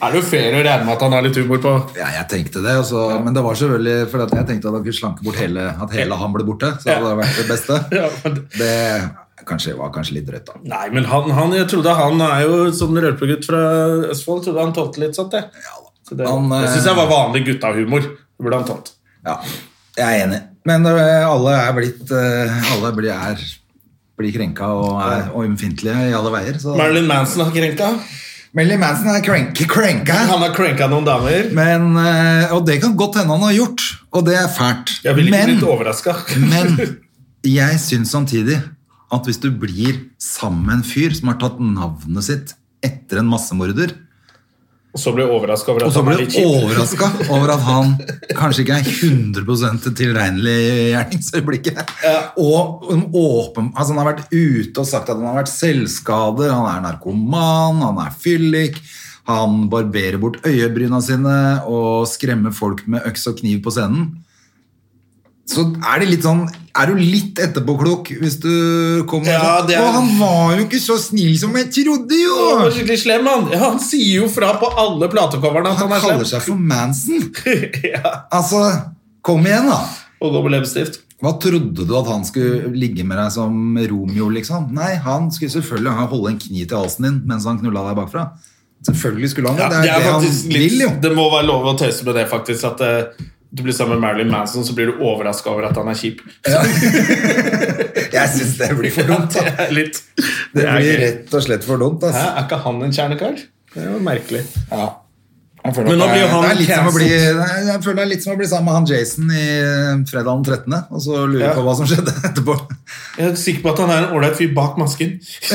Speaker 2: er det jo fair å regne med at han har litt humor på.
Speaker 1: Ja, jeg tenkte det, og så- men det var selvfølgelig fordi at jeg tenkte at han kunne slanke bort hele, at hele han ble borte. Så
Speaker 2: Ja.
Speaker 1: hadde det vært det beste.
Speaker 2: Ja, men det-
Speaker 1: Det kanskje, var kanskje litt drøyt, da.
Speaker 2: Nei, men han, han, jeg trodde han er jo som rølpegutt fra Østfold. Trodde han tålte litt sånt, jeg. Så det,
Speaker 1: Han, eh,
Speaker 2: jeg syns det var vanlig guttahumor. Det burde han tålt.
Speaker 1: Ja, jeg er enig. Men øh, alle er blitt øh, Alle blir, er, blir krenka og er og ømfintlige i alle veier. Så.
Speaker 2: Marilyn Manson har krenka.
Speaker 1: Marilyn Manson er krenk, krenka.
Speaker 2: Han har krenka noen damer.
Speaker 1: Men, øh, og det kan godt hende han har gjort, og det er fælt.
Speaker 2: Jeg ville ikke blitt
Speaker 1: Men
Speaker 2: overraska.
Speaker 1: Men jeg syns samtidig at hvis du blir sammen med en fyr som har tatt navnet sitt etter en massemorder,
Speaker 2: Og så ble jeg overraska over
Speaker 1: og
Speaker 2: at
Speaker 1: så
Speaker 2: han er
Speaker 1: blir
Speaker 2: litt
Speaker 1: du
Speaker 2: kjip.
Speaker 1: overraska over at han kanskje ikke er 100 tilregnelig i gjerningsøyeblikket Og en åpen, altså Han har vært ute og sagt at han har vært selvskader, han er narkoman, han er fyllik. Han barberer bort øyebryna sine og skremmer folk med øks og kniv på scenen så er det litt sånn Er du litt etterpåklok hvis du kommer
Speaker 2: Ja,
Speaker 1: og
Speaker 2: det
Speaker 1: sånn,
Speaker 2: er-
Speaker 1: Å, han var jo ikke så snill som jeg trodde, jo!
Speaker 2: Han var skikkelig slem, han. Ja, han sier jo fra på alle platecoverne at
Speaker 1: Han
Speaker 2: han er slem.
Speaker 1: kaller seg for Manson.
Speaker 2: ja.
Speaker 1: Altså, kom igjen, da.
Speaker 2: Og går med leppestift.
Speaker 1: Hva trodde du at han skulle ligge med deg som Romeo, liksom? Nei, han skulle selvfølgelig ha- holde en kniv til halsen din mens han knulla deg bakfra. Selvfølgelig skulle han
Speaker 2: Ja,
Speaker 1: det. Det er, det
Speaker 2: faktisk
Speaker 1: han
Speaker 2: litt-
Speaker 1: vil, jo.
Speaker 2: Det må være lov å tøyse med det, faktisk. At eh, du blir sammen med Marilyn Manson, så blir du overraska over at han er kjip.
Speaker 1: Jeg syns det blir for dumt.
Speaker 2: Det
Speaker 1: Da.
Speaker 2: er litt
Speaker 1: Det
Speaker 2: er
Speaker 1: blir
Speaker 2: gøy.
Speaker 1: rett og slett for dumt.
Speaker 2: Hæ,
Speaker 1: Altså.
Speaker 2: Er ikke han en kjernekar? Det er jo merkelig.
Speaker 1: Ja. Jeg føler
Speaker 2: Men
Speaker 1: at
Speaker 2: nå blir
Speaker 1: det er-
Speaker 2: han
Speaker 1: det er litt som å bli,
Speaker 2: cancelled.
Speaker 1: det er- Jeg føler det er litt som å bli sammen med han Jason i eh, fredag den 13., og så lurer
Speaker 2: Ja.
Speaker 1: på hva som skjedde etterpå.
Speaker 2: Jeg er sikker på at han er en ålreit fyr bak masken.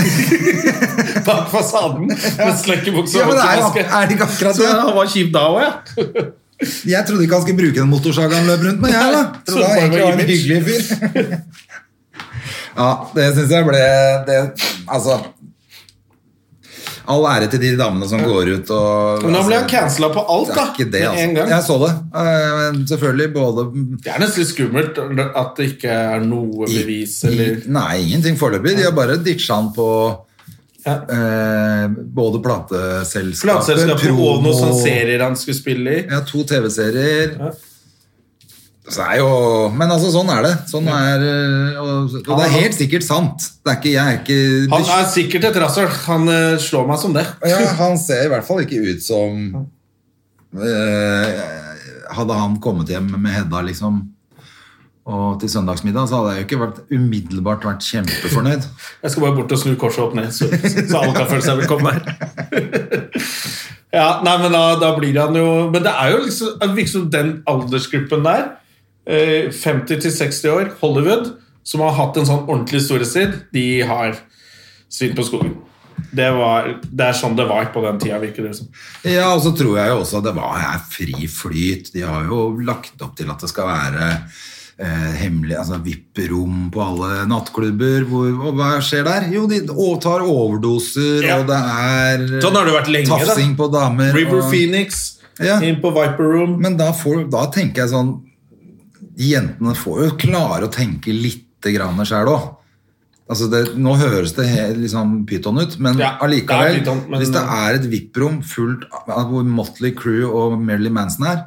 Speaker 2: bak fasaden. Med sløkkebukse
Speaker 1: Ja,
Speaker 2: og
Speaker 1: men det er, jo-
Speaker 2: hockeymaske.
Speaker 1: er det ikke akkurat
Speaker 2: Så
Speaker 1: det?
Speaker 2: han var kjip da òg, ja.
Speaker 1: Jeg trodde ikke han skulle bruke den motorsaga han løp rundt med, jeg, da.
Speaker 2: Nei,
Speaker 1: Trodde han egentlig
Speaker 2: trodde bare
Speaker 1: var en
Speaker 2: image.
Speaker 1: hyggelig fyr. Ja, det syns jeg ble det, Altså All ære til de damene som går ut og
Speaker 2: Men nå ble han
Speaker 1: altså,
Speaker 2: cancela på alt,
Speaker 1: Det
Speaker 2: da.
Speaker 1: er ikke det,
Speaker 2: Med en
Speaker 1: altså.
Speaker 2: gang.
Speaker 1: Jeg så det. Eh, Selvfølgelig både
Speaker 2: Det er nesten litt skummelt at det ikke er noe bevis,
Speaker 1: I-
Speaker 2: eller
Speaker 1: Nei, ingenting foreløpig. De har bare ditcha han på
Speaker 2: ja.
Speaker 1: eh, både plateselskapet,
Speaker 2: Plateselskapet og noen sånne serier han skulle spille i.
Speaker 1: Ja, to TV-serier.
Speaker 2: Ja.
Speaker 1: Så er jo Men altså, sånn er det. Sånn er eh, Og, og det er helt sikkert sant. Det er ikke, jeg er ikke
Speaker 2: Han er sikkert et rasshøl. Han eh, slår meg som det.
Speaker 1: ja, han ser i hvert fall ikke ut som eh, hadde han kommet hjem med Hedda liksom, og til søndagsmiddag, så hadde jeg jo ikke vært, umiddelbart vært kjempefornøyd.
Speaker 2: Jeg skal bare bort og snu korset opp ned, så, så alle kan føle seg velkomne her. ja, nei, men da, da blir han jo Men det er jo liksom, det virker som den aldersgruppen der, eh, 50 til 60 år, Hollywood, som har hatt en sånn ordentlig storhetstid, de har svin på skogen. Det, var, det er sånn det var på den tida, virker det som.
Speaker 1: Ja, og så tror jeg jo også at det var her fri flyt. De har jo lagt opp til at det skal være eh, hemmelig, altså VIP-rom på alle nattklubber. Hvor, og hva skjer der? Jo, de å- tar overdoser,
Speaker 2: Ja.
Speaker 1: og det er eh,
Speaker 2: Sånn har det vært lenge, da.
Speaker 1: tafsing på damer.
Speaker 2: River
Speaker 1: og-
Speaker 2: Phoenix,
Speaker 1: Ja.
Speaker 2: inn på Viper Room.
Speaker 1: Men da, får, da tenker jeg sånn De jentene får jo klare å tenke litt grann sjøl òg. Altså det, nå høres det helt liksom pyton ut, men
Speaker 2: Ja,
Speaker 1: allikevel
Speaker 2: det er pyton, men-
Speaker 1: Hvis det er et VIP-rom fullt av hvor Motley Crew og Marilyn Manson er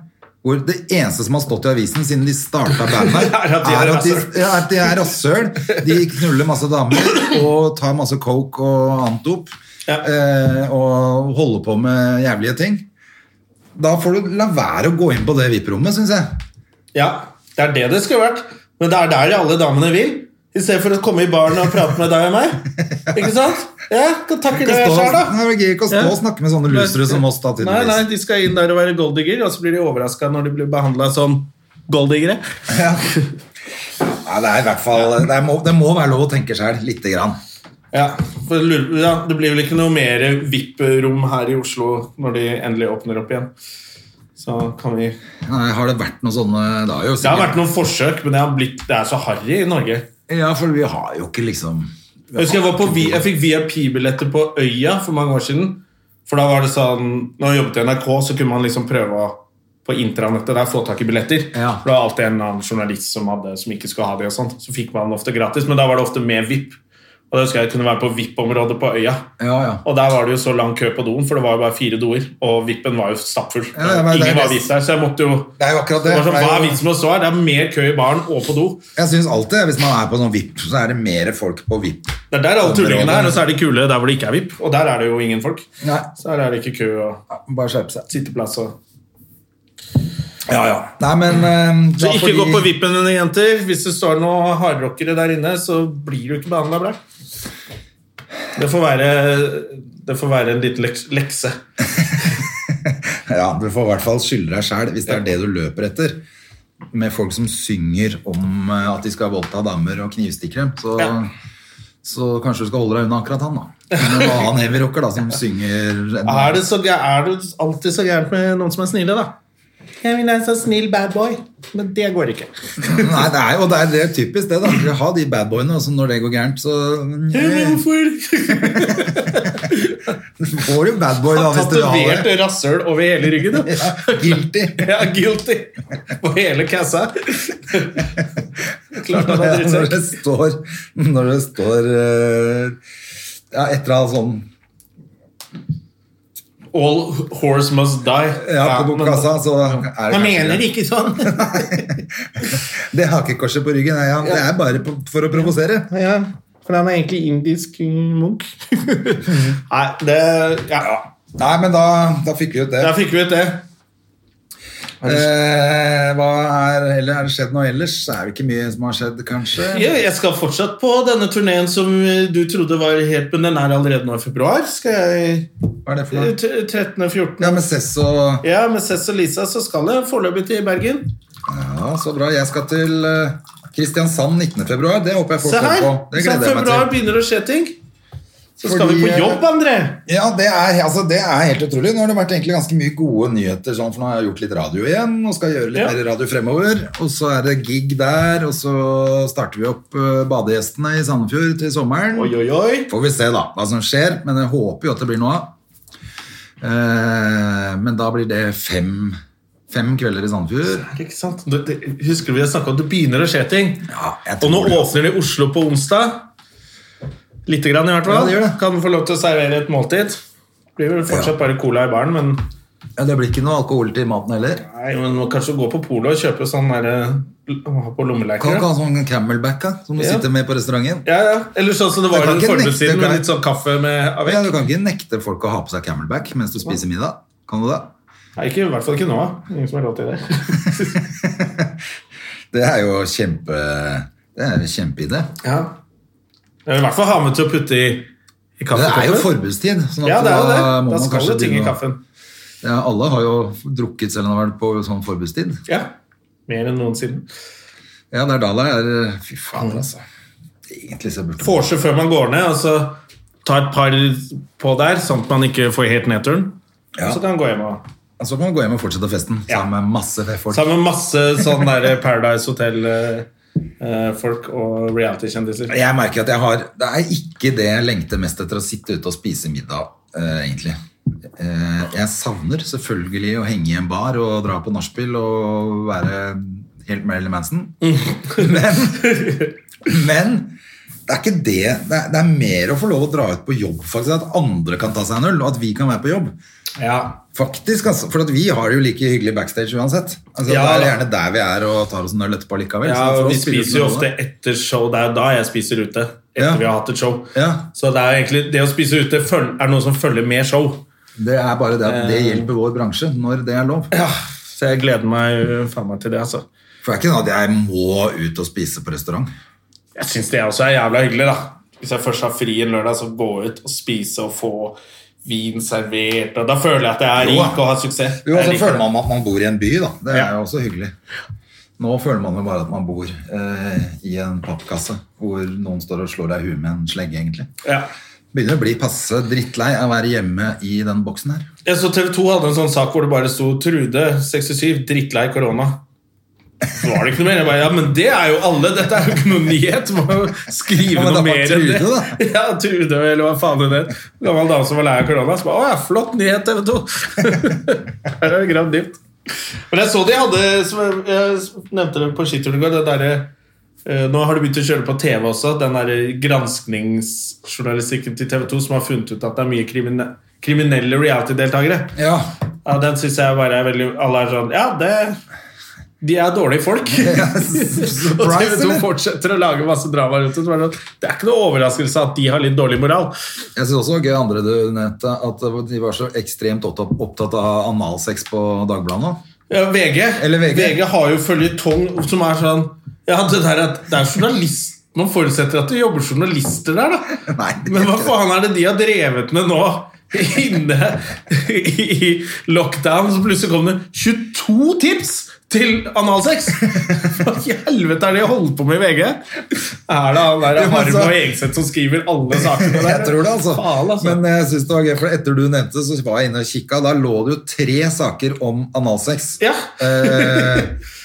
Speaker 1: hvor Det eneste som har stått i avisen siden de starta bandet,
Speaker 2: Er at de er
Speaker 1: er at de,
Speaker 2: rasshøl.
Speaker 1: ja, at de er rasshøl. De knuller masse damer og tar masse coke og annet opp.
Speaker 2: Ja.
Speaker 1: eh, Og holder på med jævlige ting. Da får du la være å gå inn på det VIP-rommet, syns jeg.
Speaker 2: Ja, det er det det skulle vært. Men det er der alle damene vil. I stedet for å komme i baren og prate med deg og meg. Ikke sant? Ja, kan takke
Speaker 1: Ikke
Speaker 2: det
Speaker 1: stå,
Speaker 2: sjøl, da.
Speaker 1: Nei, det gir ikke å stå
Speaker 2: Ja.
Speaker 1: og snakke med sånne lusere som oss, da,
Speaker 2: Nei, nei,
Speaker 1: tydeligvis.
Speaker 2: de skal inn der og være golddigger, og så blir de overraska når de blir behandla som golddiggere.
Speaker 1: Ja. Nei, det er i hvert fall Det, er, må, det må være lov å tenke sjøl, lite grann.
Speaker 2: Ja, for lur- ja, det blir vel ikke noe mer VIP-rom her i Oslo når de endelig åpner opp igjen. Så kan vi Det
Speaker 1: Nei, har det vært noen sånne Det har jo
Speaker 2: har
Speaker 1: sikkert
Speaker 2: vært noen forsøk, men det, har blitt, det er så harry i Norge.
Speaker 1: Ja, for vi har jo ikke liksom
Speaker 2: Jeg husker jeg, var på, vi- jeg fikk VIP-billetter på Øya for mange år siden. For da var det sånn, Når jeg jobbet i NRK, så kunne man liksom prøve å på intranettet der få tak i billetter.
Speaker 1: Ja.
Speaker 2: For det var alltid en eller annen journalist som, hadde, som ikke skulle ha det. og sånt. Så fikk man det ofte gratis, men da var det ofte med VIP. Og da husker jeg jeg kunne være på VIP-området på Øya.
Speaker 1: Ja, ja.
Speaker 2: Og der var det jo så lang kø på doen, for det var jo bare fire doer. Og VIP-en var jo stappfull.
Speaker 1: Ja, ja, men det er
Speaker 2: Ingen var
Speaker 1: nesten-
Speaker 2: VIP der, så jeg måtte jo
Speaker 1: Det er jo akkurat det.
Speaker 2: det var sånn,
Speaker 1: Det er
Speaker 2: Hva er
Speaker 1: jo-
Speaker 2: vitsen med å stå her? Det er mer kø i baren og på do.
Speaker 1: Jeg syns alltid hvis man er på sånn VIP, så er det mer folk på VIP.
Speaker 2: Det er der alle tullingene er, og så er de kule der hvor det ikke er VIP. Og der er det jo ingen folk.
Speaker 1: Nei,
Speaker 2: Så her er det ikke kø og
Speaker 1: bare skjerpe seg.
Speaker 2: sitteplass. Og...
Speaker 1: Ja, ja. Nei, men eh,
Speaker 2: Så
Speaker 1: da får
Speaker 2: ikke
Speaker 1: de-
Speaker 2: gå på vippen dine, jenter. Hvis det står noen hardrockere der inne, så blir du ikke behandla bra. Det får være, det får være en liten leks- lekse.
Speaker 1: Ja, du får i hvert fall skylde deg sjæl hvis det er det du løper etter. Med folk som synger om eh, at de skal voldta damer og knivstikke dem, så,
Speaker 2: Ja.
Speaker 1: så kanskje du skal holde deg unna akkurat han, da. Men en annen heavyrocker da, som synger en,
Speaker 2: Er det, så, gæ- er det alltid så gærent med noen som er snille, da? Jeg vil være en sånn snill bad boy, men det går ikke.
Speaker 1: Nei, det er jo det er, det er typisk det, da. Vi har de badboyene, og så når det går gærent, så
Speaker 2: Ja, men hvorfor?
Speaker 1: får du badboy, da, hvis du har
Speaker 2: Tatovert
Speaker 1: det.
Speaker 2: rasshøl over hele ryggen. da.
Speaker 1: Ja, guilty.
Speaker 2: Ja, guilty på hele kassa. Klart han har dritt
Speaker 1: Når
Speaker 2: seg.
Speaker 1: det står, når det står eh, ja, etter å ha sånn
Speaker 2: All horse must die.
Speaker 1: ja, på bokkassa, så er det kanskje greit.
Speaker 2: ikke sånn.
Speaker 1: Det hakekorset på ryggen, ja, ja. det er bare på, for å provosere.
Speaker 2: ja, for han er egentlig indisk munk. Nei, det Ja, ja.
Speaker 1: Nei, men da, da fikk vi ut det.
Speaker 2: Der fikk vi ut det.
Speaker 1: Eh, hva er, eller er det skjedd noe ellers? Det er jo ikke mye som har skjedd, kanskje?
Speaker 2: Ja, Jeg skal fortsatt på denne turneen som eh, du trodde var helt Men den er allerede nå i februar. Skal jeg
Speaker 1: Hva er det for noe?
Speaker 2: eh, t- 13. og 14.
Speaker 1: Ja, med Cess og
Speaker 2: Ja, med Cess og Lisa så skal jeg foreløpig til Bergen.
Speaker 1: Ja, så bra. Jeg skal til eh, Kristiansand 19. februar. Det håper jeg folk
Speaker 2: Se her!
Speaker 1: hører på. Det
Speaker 2: Så
Speaker 1: gleder jeg meg
Speaker 2: februar
Speaker 1: til.
Speaker 2: begynner å skje ting. Så skal
Speaker 1: Fordi,
Speaker 2: vi på
Speaker 1: eh,
Speaker 2: jobb, André.
Speaker 1: Ja, det er, altså, det er helt utrolig. Nå har det vært egentlig ganske mye gode nyheter, sånn, for nå har jeg gjort litt radio igjen, og skal gjøre litt
Speaker 2: Ja.
Speaker 1: mer radio fremover. Og så er det gig der, og så starter vi opp eh, Badegjestene i Sandefjord til sommeren.
Speaker 2: Oi, oi, oi.
Speaker 1: Får vi se da, hva som skjer, men jeg håper jo at det blir noe av. Eh, men da blir det fem, fem kvelder i Sandefjord.
Speaker 2: Ikke sant? Det, det, husker du vi har snakket om at det begynner å skje ting?
Speaker 1: Ja, jeg
Speaker 2: Og nå
Speaker 1: tror det.
Speaker 2: åpner de Oslo på onsdag. Lite grann, i hvert
Speaker 1: Ja,
Speaker 2: fall.
Speaker 1: det gjør det.
Speaker 2: Kan få lov til å servere et måltid. Blir vel fortsatt bare cola i baren, men,
Speaker 1: Ja, det blir ikke noe alkohol til maten heller.
Speaker 2: nei, men må kanskje gå på polet og kjøpe sånn der, eh, ha på
Speaker 1: Kan
Speaker 2: lommeleiker.
Speaker 1: ikke ha sånn camelback da, som du
Speaker 2: Ja.
Speaker 1: sitter med på restauranten.
Speaker 2: Ja, ja. Eller sånn som det
Speaker 1: Jeg
Speaker 2: var
Speaker 1: kan
Speaker 2: i
Speaker 1: ikke nekte,
Speaker 2: forbudstiden,
Speaker 1: kan
Speaker 2: med
Speaker 1: jeg-
Speaker 2: litt sånn kaffe med
Speaker 1: Ja,
Speaker 2: avec.
Speaker 1: du kan ikke nekte folk å ha på seg camelback mens du spiser middag. Kan du det?
Speaker 2: Nei, ikke, I hvert fall ikke nå. Ingen som har råd til det.
Speaker 1: Det er jo kjempe... Det er en kjempeidé.
Speaker 2: Ja. Jeg vil i hvert fall ha med til å putte i, i
Speaker 1: Det
Speaker 2: kaffekoppen.
Speaker 1: er jo forbudstid. Sånn at
Speaker 2: Ja, det er jo det.
Speaker 1: da må
Speaker 2: Da
Speaker 1: man
Speaker 2: skal
Speaker 1: kanskje
Speaker 2: det ting i
Speaker 1: begynne å-
Speaker 2: kaffen.
Speaker 1: Ja, alle har jo drukket selv om de har vært på sånn forbudstid.
Speaker 2: Ja. Mer enn noensinne.
Speaker 1: Ja, det er da det er Fy fader, altså. Egentlig så burde
Speaker 2: Vorse før man går ned, og så ta et par på der, sånn at man ikke får helt nedturen.
Speaker 1: Ja.
Speaker 2: Så kan man gå hjem og
Speaker 1: Altså, man gå hjem og fortsette festen
Speaker 2: Ja.
Speaker 1: sammen med masse folk.
Speaker 2: Sammen med masse sånn der Paradise Hotel-folk og reality-kjendiser.
Speaker 1: Jeg merker at jeg har Det er ikke det jeg lengter mest etter å sitte ute og spise middag, eh, egentlig. Eh, jeg savner selvfølgelig å henge i en bar og dra på nachspiel og være helt Marilyn Manson.
Speaker 2: Mm.
Speaker 1: Men, men det er ikke det. Det er, det er mer å få lov å dra ut på jobb, faktisk. At andre kan ta seg en øl, og at vi kan være på jobb.
Speaker 2: Ja.
Speaker 1: Faktisk, altså, for at vi har det jo like hyggelig backstage uansett. Altså,
Speaker 2: Ja,
Speaker 1: det er
Speaker 2: da.
Speaker 1: gjerne der vi er og tar oss en øl etterpå likevel.
Speaker 2: ja,
Speaker 1: så for
Speaker 2: og
Speaker 1: oss
Speaker 2: vi
Speaker 1: spiller det
Speaker 2: spiser jo
Speaker 1: ingen rolle.
Speaker 2: ofte etter show. Det er jo da jeg spiser ute. Etter
Speaker 1: Ja.
Speaker 2: vi har hatt et show.
Speaker 1: Ja.
Speaker 2: Så det er jo egentlig det å spise ute føl- er noe som følger med show.
Speaker 1: Det er bare det at det hjelper vår bransje når det er lov.
Speaker 2: Så jeg gleder meg uh, faen meg til det, altså.
Speaker 1: For det er ikke sånn at jeg må ut og spise på restaurant.
Speaker 2: Jeg syns det også er jævla hyggelig, da. Hvis jeg først har fri en lørdag, så gå ut og spise og få vin servert. Og da føler jeg at jeg er
Speaker 1: Jo,
Speaker 2: rik og har suksess.
Speaker 1: Jo,
Speaker 2: Jeg
Speaker 1: så
Speaker 2: liker
Speaker 1: føler
Speaker 2: det.
Speaker 1: man at man bor i en by, da. Det er
Speaker 2: Ja.
Speaker 1: jo også hyggelig. Nå føler man jo bare at man bor eh, i en pappkasse hvor noen står og slår deg i huet med en slegge, egentlig.
Speaker 2: ja.
Speaker 1: Begynner å bli passe drittlei av å være hjemme i den boksen her.
Speaker 2: Jeg så TV 2 hadde en sånn sak hvor det bare sto 'Trude, 67, drittlei korona'. Så var det ikke noe mer. Jeg bare, ja, men det er jo alle! Dette er jo ikke noe nyhet! Må jo skrive
Speaker 1: Ja, men
Speaker 2: noe
Speaker 1: det var
Speaker 2: mer enn det.
Speaker 1: Trude, da.
Speaker 2: Ja, Trude, eller hva faen hun het. Gammel dame som var lei av korona. Så bare, Å ja, flott nyhet, TV 2! Her er det gravd dypt. Men jeg så de hadde, som jeg, jeg nevnte det på skituren i går, det derre Eh, Nå har de begynt å kjøre på TV også, den der granskningsjournalistikken til TV 2 som har funnet ut at det er mye krimine kriminelle reality-deltakere.
Speaker 1: Ja,
Speaker 2: Ja, den syns jeg bare er veldig Alle er sånn Ja, det De er dårlige folk. og TV
Speaker 1: surprise,
Speaker 2: 2
Speaker 1: eller?
Speaker 2: fortsetter å lage masse drama rundt det. så er det sånn, Det er ikke noe overraskelse at de har litt dårlig moral.
Speaker 1: Jeg synes også det var gøy andre du nevnte, at de var så ekstremt opptatt- opptatt av analsex på Dagbladet nå.
Speaker 2: Ja, VG,
Speaker 1: Eller VG.
Speaker 2: har jo føljetong som er sånn Ja, det der at det er journalist Man forutsetter at det jobber journalister der, da.
Speaker 1: Nei, det-
Speaker 2: Men hva faen er det de har drevet med nå? Inne i lockdown, så plutselig kom det 22 tips til analsex! Hva i helvete er det de holder på med i VG? Er det han der
Speaker 1: Jo, men
Speaker 2: Harm
Speaker 1: så-
Speaker 2: og Egseth som skriver alle sakene der?
Speaker 1: Jeg tror det, altså.
Speaker 2: Faen, altså.
Speaker 1: Men jeg synes det var gøy, for etter du nevnte det, så var jeg inne og kikka. Da lå det jo tre saker om analsex.
Speaker 2: Ja.
Speaker 1: Eh,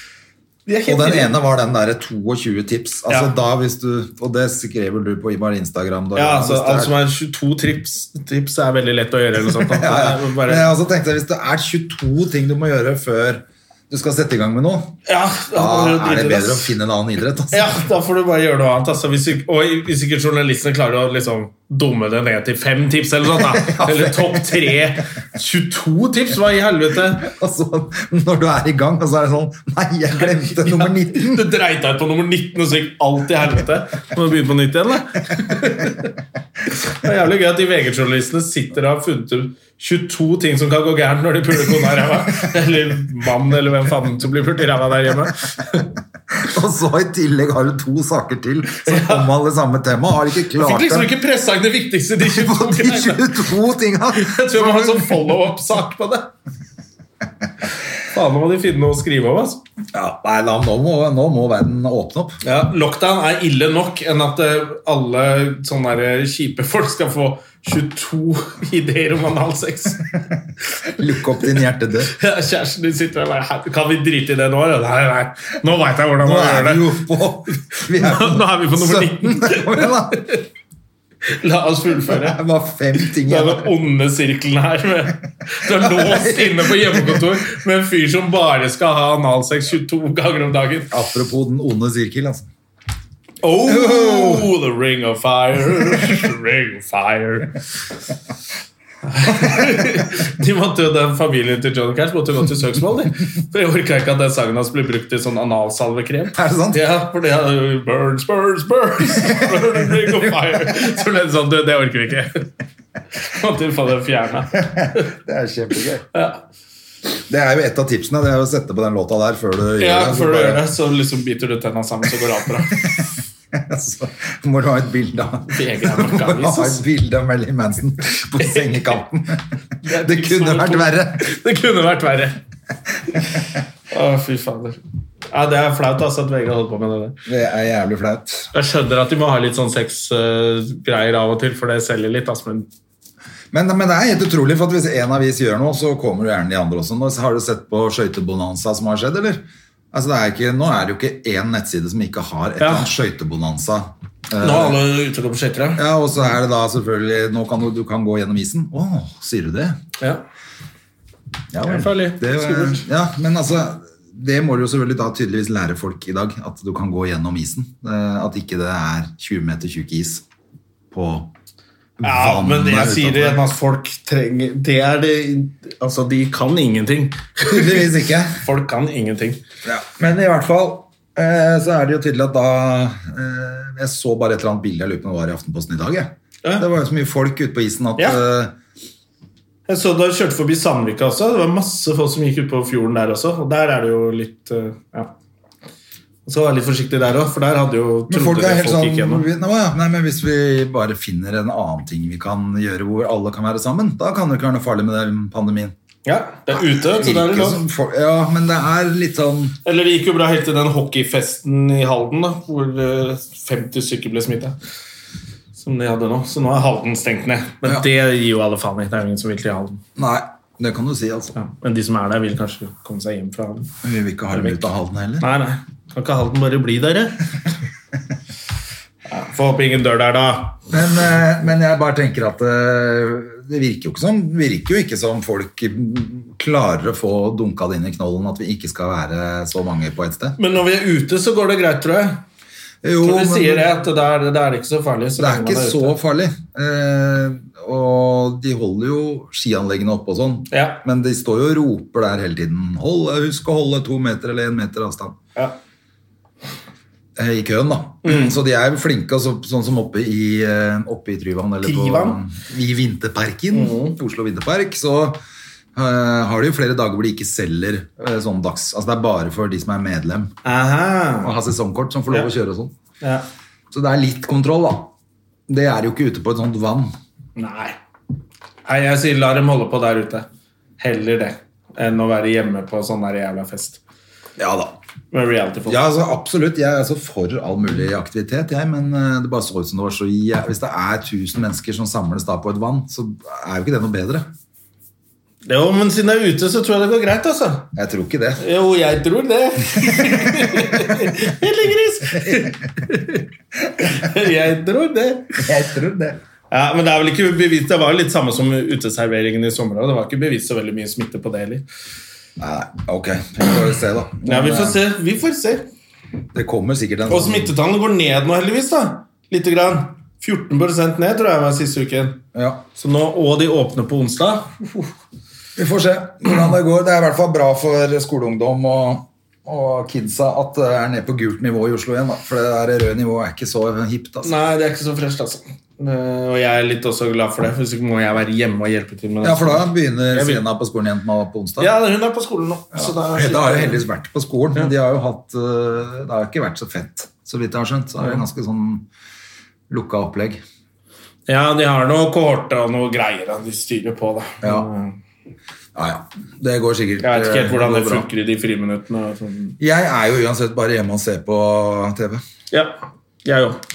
Speaker 2: De er helt
Speaker 1: og den
Speaker 2: inne.
Speaker 1: ene var den derre 22 tips. Altså
Speaker 2: Ja.
Speaker 1: da hvis du, Og det skrev vel du på Ibar Instagram. Da,
Speaker 2: Ja, altså,
Speaker 1: hvis det er-
Speaker 2: alt som er 22 tips, tips er veldig lett å gjøre. Eller noe sånt, da.
Speaker 1: ja, ja.
Speaker 2: Det er
Speaker 1: Men
Speaker 2: bare,
Speaker 1: jeg også tenkte Hvis det er 22 ting du må gjøre før du skal sette i gang med noe,
Speaker 2: ja,
Speaker 1: da
Speaker 2: det
Speaker 1: er det
Speaker 2: dritt,
Speaker 1: bedre å
Speaker 2: ass.
Speaker 1: finne en annen idrett. Altså.
Speaker 2: Ja, da får du bare gjøre noe annet. Altså, hvis, ikke- og hvis ikke journalistene klarer å liksom dumme det ned til fem tips eller noe sånt, da. Eller topp tre 22 tips, hva i helvete?
Speaker 1: Og så når du er i gang, og så er det sånn Nei, jeg glemte nummer 19!
Speaker 2: Du dreit deg ut på nummer 19, og så gikk alt i helvete. Må du begynne på nytt igjen, da? Det er jævlig gøy at de VG-journalistene sitter og har funnet ut 22 ting som kan gå gærent når de puler kona i ræva. Eller mann, eller hvem faen som blir pult i ræva der hjemme.
Speaker 1: Og så i tillegg har du to saker til som omhandler samme tema. Har ikke
Speaker 2: Fikk
Speaker 1: klart
Speaker 2: liksom
Speaker 1: det.
Speaker 2: ikke pressa inn det viktigste, de 22
Speaker 1: På de
Speaker 2: greiene.
Speaker 1: 22 tinga!
Speaker 2: Jeg tror jeg må ha en sånn follow-up-sak på det. Faen, nå må de finne noe å skrive om. Altså.
Speaker 1: Ja, nei, la, nå, må, nå må verden åpne opp.
Speaker 2: Ja, lockdown er ille nok enn at eh, alle sånne der eh, kjipe folk skal få 22 ideer om analsex.
Speaker 1: Lukk opp din hjertedør.
Speaker 2: Ja, Kjæresten din sitter der og bare "Her, Kan vi drite i det nå? eller?" Nei, nei. Nå veit jeg hvordan
Speaker 1: Nå
Speaker 2: man
Speaker 1: er
Speaker 2: gjør
Speaker 1: vi
Speaker 2: det.
Speaker 1: jo på vi er
Speaker 2: Nå er vi på nummer 19.
Speaker 1: 17. Kom igjen, da.
Speaker 2: La oss fullføre.
Speaker 1: Det var fem ting
Speaker 2: Det
Speaker 1: igjen.
Speaker 2: er den onde sirkelen her. Med, du er låst inne på hjemmekontor med en fyr som bare skal ha analsex 22 ganger om dagen.
Speaker 1: Apropos den onde sirkel, altså.
Speaker 2: Oh, the ring of fire, the ring of fire. de måtte jo, den Familien til John Cash måtte jo gå til søksmål. De. For Jeg orka ikke at den sangen hans ble brukt til sånn analsalvekrem.
Speaker 1: Er det sant?
Speaker 2: Ja, for det er jo Burns, burns, burns, burn, ring of fire. Så ble det sånn, du, det orker vi ikke. Måtte jo få det fjerna.
Speaker 1: Det er kjempegøy.
Speaker 2: Ja.
Speaker 1: Det er jo et av tipsene. Det er jo å sette på den låta der før du
Speaker 2: Ja,
Speaker 1: gjør det. så
Speaker 2: før du
Speaker 1: bare-
Speaker 2: gjør det, så liksom biter du tenna sammen, så går det alt bra.
Speaker 1: Så Altså, må du ha et bilde av
Speaker 2: VG er nok
Speaker 1: Må du
Speaker 2: avis,
Speaker 1: ha
Speaker 2: ass.
Speaker 1: et bilde av Marilyn Manson på sengekanten.
Speaker 2: er
Speaker 1: Det
Speaker 2: tips
Speaker 1: kunne
Speaker 2: nummer
Speaker 1: vært
Speaker 2: to.
Speaker 1: verre.
Speaker 2: Det kunne vært verre. Å, fy fader. Ja, det er flaut altså, at VG holder på med det der.
Speaker 1: Det er jævlig flaut.
Speaker 2: Jeg skjønner at de må ha litt sånn sexgreier av og til, for det selger litt. ass, men
Speaker 1: Men, men det er helt utrolig, for at hvis en avis gjør noe, så kommer jo gjerne de andre også. Nå har du sett på skøytebonanza som har skjedd, eller? Altså, det er ikke, nå er det jo ikke én nettside som ikke har et
Speaker 2: Ja.
Speaker 1: eller annet skøytebonanza.
Speaker 2: Nå er alle ute og går på skøyter, ja.
Speaker 1: Ja, og så er det da selvfølgelig Nå kan du, du kan gå gjennom isen. Å, sier du det?
Speaker 2: ja.
Speaker 1: Ja,
Speaker 2: Det er
Speaker 1: vel.
Speaker 2: farlig.
Speaker 1: Det,
Speaker 2: Skummelt.
Speaker 1: ja, men altså, det må du jo selvfølgelig da tydeligvis lære folk i dag, at du kan gå gjennom isen. Eh, At ikke det er 20 meter tjukk is på
Speaker 2: Ja,
Speaker 1: vannet
Speaker 2: men jeg
Speaker 1: utenfor.
Speaker 2: sier det igjen, altså, folk trenger Det er det Altså, de kan ingenting.
Speaker 1: Tydeligvis ikke.
Speaker 2: Folk kan ingenting.
Speaker 1: Ja. Men i hvert fall eh, så er det jo tydelig at da eh, Jeg så bare et eller annet bilde jeg lurer på om det var i Aftenposten i dag. Jeg.
Speaker 2: Ja.
Speaker 1: Det var jo så mye folk ute på isen at
Speaker 2: Ja.
Speaker 1: eh,
Speaker 2: Jeg så da jeg kjørte forbi Sandvika også. Det var masse folk som gikk ut på fjorden der også. Og der er det jo litt eh, Ja. Og så være litt forsiktig der òg, for der hadde jo
Speaker 1: Men folk
Speaker 2: det
Speaker 1: er helt sånn
Speaker 2: gikk gjennom.
Speaker 1: vi- nå, ja, nei, men Hvis vi bare finner en annen ting vi kan gjøre hvor alle kan være sammen, da kan det ikke være noe farlig med den pandemien.
Speaker 2: Ja, det er ute, så det
Speaker 1: Virker
Speaker 2: er det lov.
Speaker 1: som folk- Ja, men det er litt sånn
Speaker 2: Eller det gikk jo bra helt til den hockeyfesten i Halden, da, hvor eh, 50 stykker ble smitta. Som de hadde nå. Så nå er Halden stengt ned. Men
Speaker 1: Ja.
Speaker 2: det gir jo alle faen i. Det er jo ingen som vil til Halden.
Speaker 1: Nei, det kan du si, altså.
Speaker 2: Ja. Men de som er der, vil kanskje komme seg hjem fra Halden.
Speaker 1: Vi vil ikke ha dem ut av halden heller.
Speaker 2: Nei, nei. Kan ikke Halden bare bli der, jeg? ja, Får håpe ingen dør der, da.
Speaker 1: Men, eh, men jeg bare tenker at eh, det virker jo ikke som, det virker jo ikke som folk mm, klarer å få dunka det inn i knollen at vi ikke skal være så mange på ett sted.
Speaker 2: Men når vi er ute, så går det greit, tror jeg.
Speaker 1: Jo,
Speaker 2: Tror de sier det,
Speaker 1: det.
Speaker 2: at det er, det er ikke så farlig. Så
Speaker 1: Det er
Speaker 2: lenge man
Speaker 1: ikke
Speaker 2: ute.
Speaker 1: så farlig. Eh, og de holder jo skianleggene oppe og sånn.
Speaker 2: Ja.
Speaker 1: Men de står jo og roper der hele tiden. Hold, husk å holde to meter eller én meter avstand.
Speaker 2: Ja.
Speaker 1: eh, i køen, da. Så de er flinke, altså, sånn som oppe i, eh, oppe i Tryvann Mm. eller
Speaker 2: Tryvann?
Speaker 1: På, i Vinterparken, Oslo Vinterpark, så eh, har de jo flere dager hvor de ikke selger eh, sånn dags... Altså det er bare for de som er medlem og
Speaker 2: Aha.
Speaker 1: har sesongkort, som får lov å
Speaker 2: Ja.
Speaker 1: kjøre og sånn.
Speaker 2: Ja.
Speaker 1: Så det er litt kontroll, da. Det er jo ikke ute på et sånt vann.
Speaker 2: Nei. Nei, jeg sier la dem holde på der ute. Heller det enn å være hjemme på sånn der jævla fest.
Speaker 1: Ja da.
Speaker 2: Med reality-folk.
Speaker 1: Ja, altså, absolutt. Jeg er altså for all mulig aktivitet, jeg, men eh, det bare så ut som det var så jæ- Hvis det er 1000 mennesker som samles da på et vann, så er jo ikke det noe bedre.
Speaker 2: Jo, men siden jeg er ute, så tror jeg det går greit, altså.
Speaker 1: Jeg tror ikke det.
Speaker 2: Jo, jeg tror det. Lille gris! jeg tror det.
Speaker 1: Jeg tror det.
Speaker 2: Ja, men Det er vel ikke bevist, det var jo litt samme som uteserveringen i sommer. og Det var ikke bevist så veldig mye smitte på det heller.
Speaker 1: Nei, ok. Vi får se, da. eh,
Speaker 2: Ja, vi får se. vi får se.
Speaker 1: Det kommer sikkert en
Speaker 2: Og smittetallene går ned nå, heldigvis. da. Lite grann. 14 ned, tror jeg var siste uken.
Speaker 1: Ja.
Speaker 2: Så nå, Og de åpner på onsdag.
Speaker 1: Vi får se hvordan det går. Det er i hvert fall bra for skoleungdom og, og kidsa at det er ned på gult nivå i Oslo igjen, da. For det der røde nivået er ikke så hipt, altså.
Speaker 2: Nei, det er ikke så fresht, altså. Eh, Og jeg er litt også glad for det, for hvis ikke må jeg være hjemme og hjelpe til. med det.
Speaker 1: Ja, for da begynner
Speaker 2: Jeg vil-
Speaker 1: Sena på skolen igjen på på onsdag.
Speaker 2: Ja, hun er på skolen nå. så da-
Speaker 1: Hedda har jo heldigvis vært på skolen, men de har jo hatt øh, Det har jo ikke vært så fett, så vidt jeg har skjønt. Så det er jo ganske sånn lukka opplegg.
Speaker 2: Ja, de har noe kohorte og noe greier da. de styrer på. da.
Speaker 1: Ja.
Speaker 2: Men, eh,
Speaker 1: Ja, ja. Det går sikkert
Speaker 2: Jeg vet ikke helt
Speaker 1: øh,
Speaker 2: hvordan det
Speaker 1: går bra.
Speaker 2: funker i de friminuttene. og sånn.
Speaker 1: Jeg er jo uansett bare hjemme og ser på TV.
Speaker 2: Ja, jeg òg.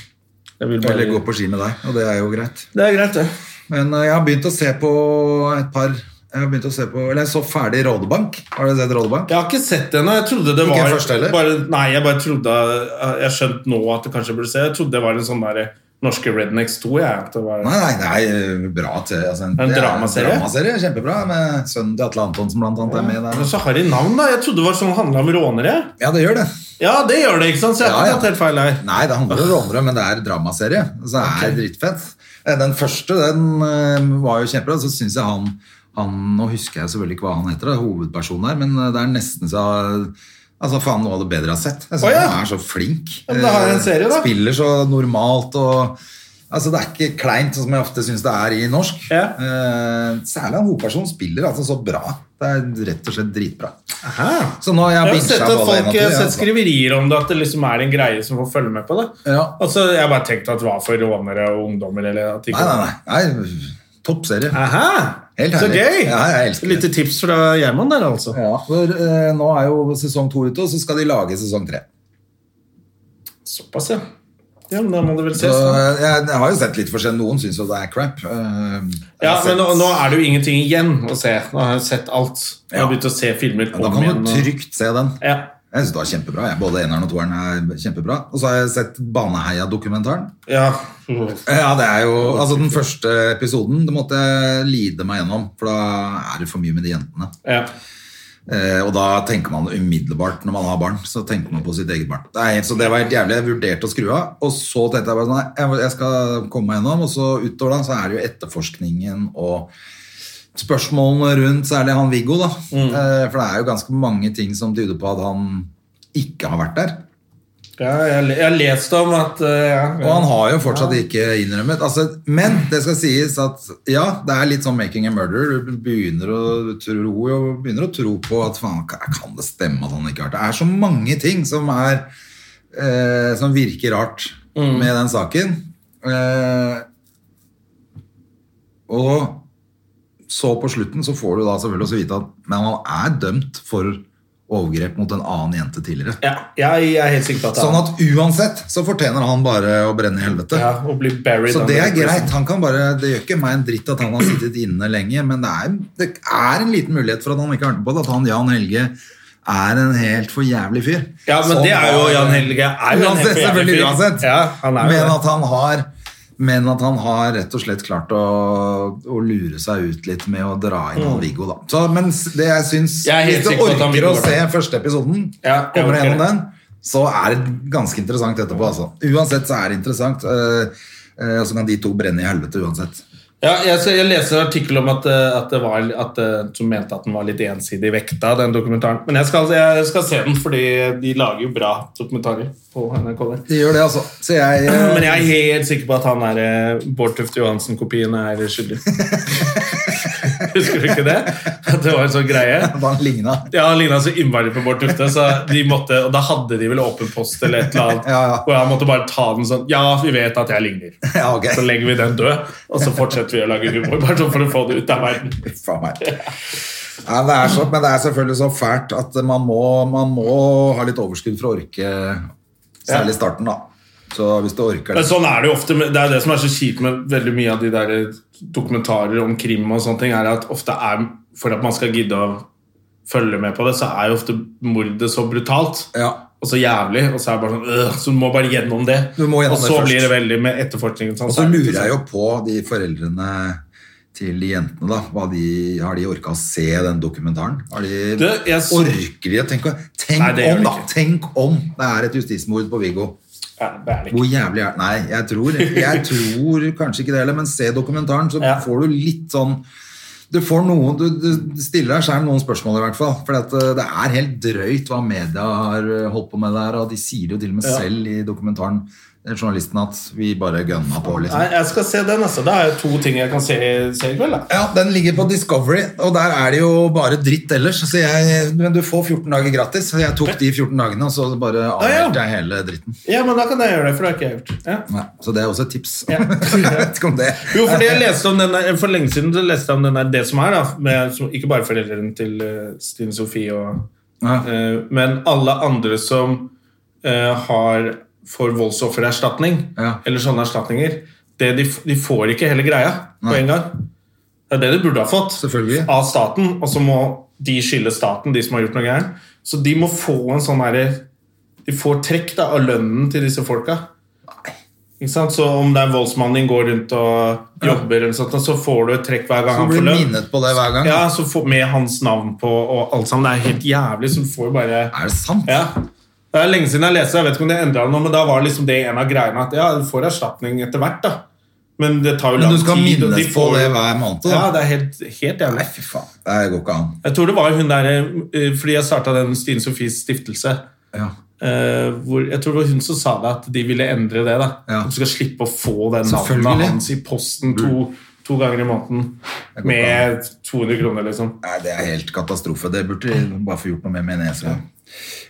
Speaker 2: Jeg vil bare-
Speaker 1: Eller gå på ski med deg, og det er jo greit.
Speaker 2: Det er greit, det.
Speaker 1: Men øh, jeg har begynt å se på et par Jeg har begynt å se på, eller jeg så ferdig Rådebank. Har du sett Rådebank?
Speaker 2: Jeg har ikke sett det ennå. Jeg trodde det
Speaker 1: Ikke
Speaker 2: var
Speaker 1: først heller?
Speaker 2: bare, Nei, jeg bare trodde Jeg skjønte nå at det kanskje burde se. Jeg trodde det var en sånn der norske Rednecks 2. Jeg, at det var,
Speaker 1: Nei, nei, nei, øh, bra TV. Altså,
Speaker 2: En
Speaker 1: det er
Speaker 2: dramaserie?
Speaker 1: dramaserie, Kjempebra, med sønnen til Atle Antonsen blant annet er med
Speaker 2: Men
Speaker 1: der.
Speaker 2: så har de navn, da. Jeg trodde det var sånn handla om rånere.
Speaker 1: Ja, det gjør det.
Speaker 2: Ja, det gjør det, ikke sant? Så jeg
Speaker 1: Ja,
Speaker 2: har ikke
Speaker 1: ja.
Speaker 2: tatt helt feil her.
Speaker 1: Nei, det handler om rånere, men det er dramaserie. Så det er drittfett. Eh, Den første den eh, var jo kjempebra. Så syns jeg han, han Nå husker jeg selvfølgelig ikke hva han heter, da, hovedpersonen her, men eh, det er nesten så Altså faen, noe av det bedre jeg har sett. Jeg synes
Speaker 2: Å, ja.
Speaker 1: Han er så flink.
Speaker 2: Ja, men da har jeg en serie, da.
Speaker 1: Eh, Spiller så normalt og Altså, det er ikke kleint, sånn som jeg ofte syns det er i norsk.
Speaker 2: Ja.
Speaker 1: Eh, særlig han hovedpersonen spiller altså så bra. Det er rett og slett dritbra. Så nå har
Speaker 2: Jeg
Speaker 1: jeg
Speaker 2: har
Speaker 1: binget
Speaker 2: sett
Speaker 1: av
Speaker 2: at
Speaker 1: alle en
Speaker 2: folk
Speaker 1: og tre,
Speaker 2: jeg har sett
Speaker 1: altså.
Speaker 2: skriverier om det, at det liksom er en greie som får følge med på det.
Speaker 1: Ja.
Speaker 2: Altså, jeg har bare tenkt at det var for rånere og ungdommer. Eller at de
Speaker 1: Nei, nei, nei. nei Topp serie.
Speaker 2: Aha!
Speaker 1: Helt
Speaker 2: Så
Speaker 1: herlig.
Speaker 2: gøy!
Speaker 1: Ja, jeg elsker det.
Speaker 2: Litt tips fra Gjerman der, altså.
Speaker 1: Ja, for eh, nå er jo sesong to ute, og så skal de lage sesong tre.
Speaker 2: Såpass, ja. Ja, men Da må det vel
Speaker 1: Så
Speaker 2: ses. da.
Speaker 1: jeg, jeg har jo sett litt forskjell. Noen syns jo det er crap. Eh, jeg
Speaker 2: Ja,
Speaker 1: har sett-
Speaker 2: men nå, nå er det jo ingenting igjen å se. Nå har jeg sett alt. Jeg har
Speaker 1: Ja.
Speaker 2: begynt å se filmer
Speaker 1: Da
Speaker 2: om
Speaker 1: kan
Speaker 2: igjen,
Speaker 1: du
Speaker 2: og-
Speaker 1: trygt se den.
Speaker 2: Ja.
Speaker 1: Jeg syns det var kjempebra. Jeg. Både eneren og toeren er kjempebra. Og så har jeg sett Baneheia-dokumentaren. Eh,
Speaker 2: ja.
Speaker 1: Ja, det er jo Altså, den første episoden det måtte jeg lide meg gjennom, for da er det for mye med de jentene.
Speaker 2: ja.
Speaker 1: Eh, og da tenker man umiddelbart når man har barn, så tenker man på sitt eget barn. Det er, helt- så det var helt jævlig. Jeg vurderte å skru av, og så tenkte jeg bare sånn Nei, jeg- jeg skal komme meg gjennom. Og så utover da, så er det jo etterforskningen og spørsmålene rundt særlig han Viggo, da. Eh, for det er jo ganske mange ting som tyder på at han ikke har vært der.
Speaker 2: ja jeg, le- jeg har lest om at eh, ja,
Speaker 1: Og han har jo fortsatt ikke innrømmet. Altså, men det skal sies at ja, det er litt sånn 'making a murderer'. Du begynner å tro, og begynner å tro på at faen, kan det stemme at han ikke har vært det? Det er så mange ting som, er, eh, som virker rart med den saken. Eh, og så på slutten så får du da selvfølgelig også vite at men han er dømt for overgrep mot en annen jente tidligere.
Speaker 2: ja, jeg, jeg er helt sikker på at det
Speaker 1: Sånn
Speaker 2: er
Speaker 1: at uansett så fortjener han bare å brenne i helvete.
Speaker 2: ja, å bli buried
Speaker 1: Så det er
Speaker 2: under-
Speaker 1: greit. Han kan bare, det gjør ikke meg en dritt at han har sittet inne lenge, men det er, det er en liten mulighet for at han ikke har hørt på det. At han Jan Helge er en helt for jævlig fyr.
Speaker 2: Ja, men
Speaker 1: Som
Speaker 2: det er jo
Speaker 1: har-
Speaker 2: Jan Helge. Er jo en helt
Speaker 1: uansett,
Speaker 2: for jævlig
Speaker 1: selvfølgelig
Speaker 2: fyr.
Speaker 1: uansett.
Speaker 2: Ja, han er jo
Speaker 1: men
Speaker 2: det.
Speaker 1: at han har men at han har rett og slett klart å, å lure seg ut litt med å dra inn han Viggo, da. Så, men det jeg syns
Speaker 2: Mm. Jeg er helt
Speaker 1: Hvis du
Speaker 2: sikker på at han
Speaker 1: orker å
Speaker 2: Viggo går
Speaker 1: se
Speaker 2: der.
Speaker 1: første episoden,
Speaker 2: Ja, jeg
Speaker 1: kommer du
Speaker 2: orker
Speaker 1: gjennom
Speaker 2: det.
Speaker 1: den, så er det ganske interessant etterpå, altså. Uansett så er det interessant. eh, eh, Og så kan de to brenne i helvete uansett.
Speaker 2: Ja, jeg, så jeg leste en artikkel om at, eh, at det var at, eh, som mente at den var litt ensidig vekta, den dokumentaren. Men jeg skal, jeg skal se den, fordi de lager jo bra dokumentarer på NRK. Der.
Speaker 1: De gjør det, altså. Så jeg eh,
Speaker 2: Men jeg er helt sikker på at han er eh, Bård Tufte Johansen-kopien er skyldig. Husker du ikke det? At det var en sånn greie.
Speaker 1: Hva han ligna.
Speaker 2: Ja, Han ligna så innmari på Bård Tufte, så de måtte, og da hadde de vel åpen post eller et eller annet.
Speaker 1: Ja, ja.
Speaker 2: Og han måtte bare ta den sånn Ja, vi vet at jeg ligner.
Speaker 1: Ja, ok.
Speaker 2: Så legger vi den død, og så fortsetter vi å lage humor. Bare sånn for å få det ut av verden.
Speaker 1: Faen meg. Ja, det er så, men det er selvfølgelig så fælt at man må, man må ha litt overskudd for å orke, særlig i starten, da. Så hvis du orker
Speaker 2: Men
Speaker 1: det
Speaker 2: sånn er det jo ofte. men Det er det som er så kjipt med veldig mye av de der dokumentarer om krim og sånne ting, er at ofte er For at man skal gidde å følge med på det, så er jo ofte mordet så brutalt.
Speaker 1: Ja.
Speaker 2: Og så jævlig, og så er det bare sånn øh, Så du må bare gjennom det.
Speaker 1: Du må gjennom
Speaker 2: og
Speaker 1: det
Speaker 2: så
Speaker 1: først.
Speaker 2: blir det veldig med etterforskningen. Sånn,
Speaker 1: Og så lurer jeg jo på de foreldrene til de jentene, da. Hva de, har de orka å se den dokumentaren? Har de,
Speaker 2: Du, jeg s-
Speaker 1: orker de å tenke Tenk
Speaker 2: Nei, det gjør
Speaker 1: om,
Speaker 2: de
Speaker 1: da!
Speaker 2: ikke.
Speaker 1: Tenk om det er et justismord på Viggo.
Speaker 2: ja, det er det ikke.
Speaker 1: Hvor jævlig er Nei, jeg tror, jeg tror kanskje ikke det heller, men se dokumentaren, så
Speaker 2: Ja.
Speaker 1: får du litt sånn du, får noen, du, du stiller deg selv noen spørsmål i hvert fall. For det er helt drøyt hva media har eh, holdt på med der, og de sier jo til og med
Speaker 2: Ja.
Speaker 1: selv i dokumentaren, eh, journalisten, at vi bare gønna på,
Speaker 2: Nei,
Speaker 1: liksom.
Speaker 2: jeg skal se den, altså. Da er det to ting jeg kan se, se i kveld. da.
Speaker 1: Ja, den ligger på Discovery, og der er det jo bare dritt ellers. Så jeg, men du får 14 dager gratis. Så jeg tok de 14 dagene, og så bare
Speaker 2: ja.
Speaker 1: avmeldte jeg hele dritten.
Speaker 2: Ja, men da kan jeg gjøre det, for det har ikke jeg gjort. Ja.
Speaker 1: Nei, så det er også et tips.
Speaker 2: Ja.
Speaker 1: jeg vet ikke om det
Speaker 2: Jo, fordi jeg leste om den der, For lenge siden så leste jeg om den der Det som er, da. Med, som, ikke bare foreldrene til eh, Stine Sofie, og,
Speaker 1: Ja.
Speaker 2: eh, men alle andre som eh, har får voldsoffererstatning,
Speaker 1: Ja.
Speaker 2: eller sånne erstatninger, det de, f- de får ikke hele greia på
Speaker 1: Nei.
Speaker 2: en gang. Det er det de burde ha fått
Speaker 1: Selvfølgelig.
Speaker 2: av staten, og så må de skylde staten, de som har gjort noe gærent. Så de må få en sånn derre De får trekk da, av lønnen til disse folka. Ikke sant? Så om det er en voldsmann din går rundt og jobber, eller sånt, så får du et trekk hver gang
Speaker 1: Så
Speaker 2: han
Speaker 1: blir
Speaker 2: får
Speaker 1: du
Speaker 2: lønn.
Speaker 1: minnet på det hver gang.
Speaker 2: Ja, så får Med hans navn på og alt sammen. Det er helt jævlig. Så du får jo bare
Speaker 1: Er det sant?
Speaker 2: ja. Det er lenge siden jeg leste, jeg vet ikke om de endra det nå, men da var liksom det en av greiene at ja, du får erstatning etter hvert, da. Men det tar jo
Speaker 1: Men
Speaker 2: lang tid.
Speaker 1: du skal
Speaker 2: og de
Speaker 1: minnes på
Speaker 2: får-
Speaker 1: det hver måned, da?
Speaker 2: Ja, det er helt, helt jævlig.
Speaker 1: Nei, fy faen. Det går ikke an.
Speaker 2: Jeg tror det var hun der eh, Fordi jeg starta den Stine Sofies stiftelse.
Speaker 1: Ja.
Speaker 2: eh, hvor, Jeg tror det var hun som sa det, at de ville endre det. da
Speaker 1: Ja.
Speaker 2: At du skal slippe å få den navnet
Speaker 1: Selvfølgelig.
Speaker 2: hans i posten to, to ganger i måneden med 200 kroner, liksom.
Speaker 1: Nei, det er helt katastrofe. Det burde de bare få gjort noe med, mener jeg. så.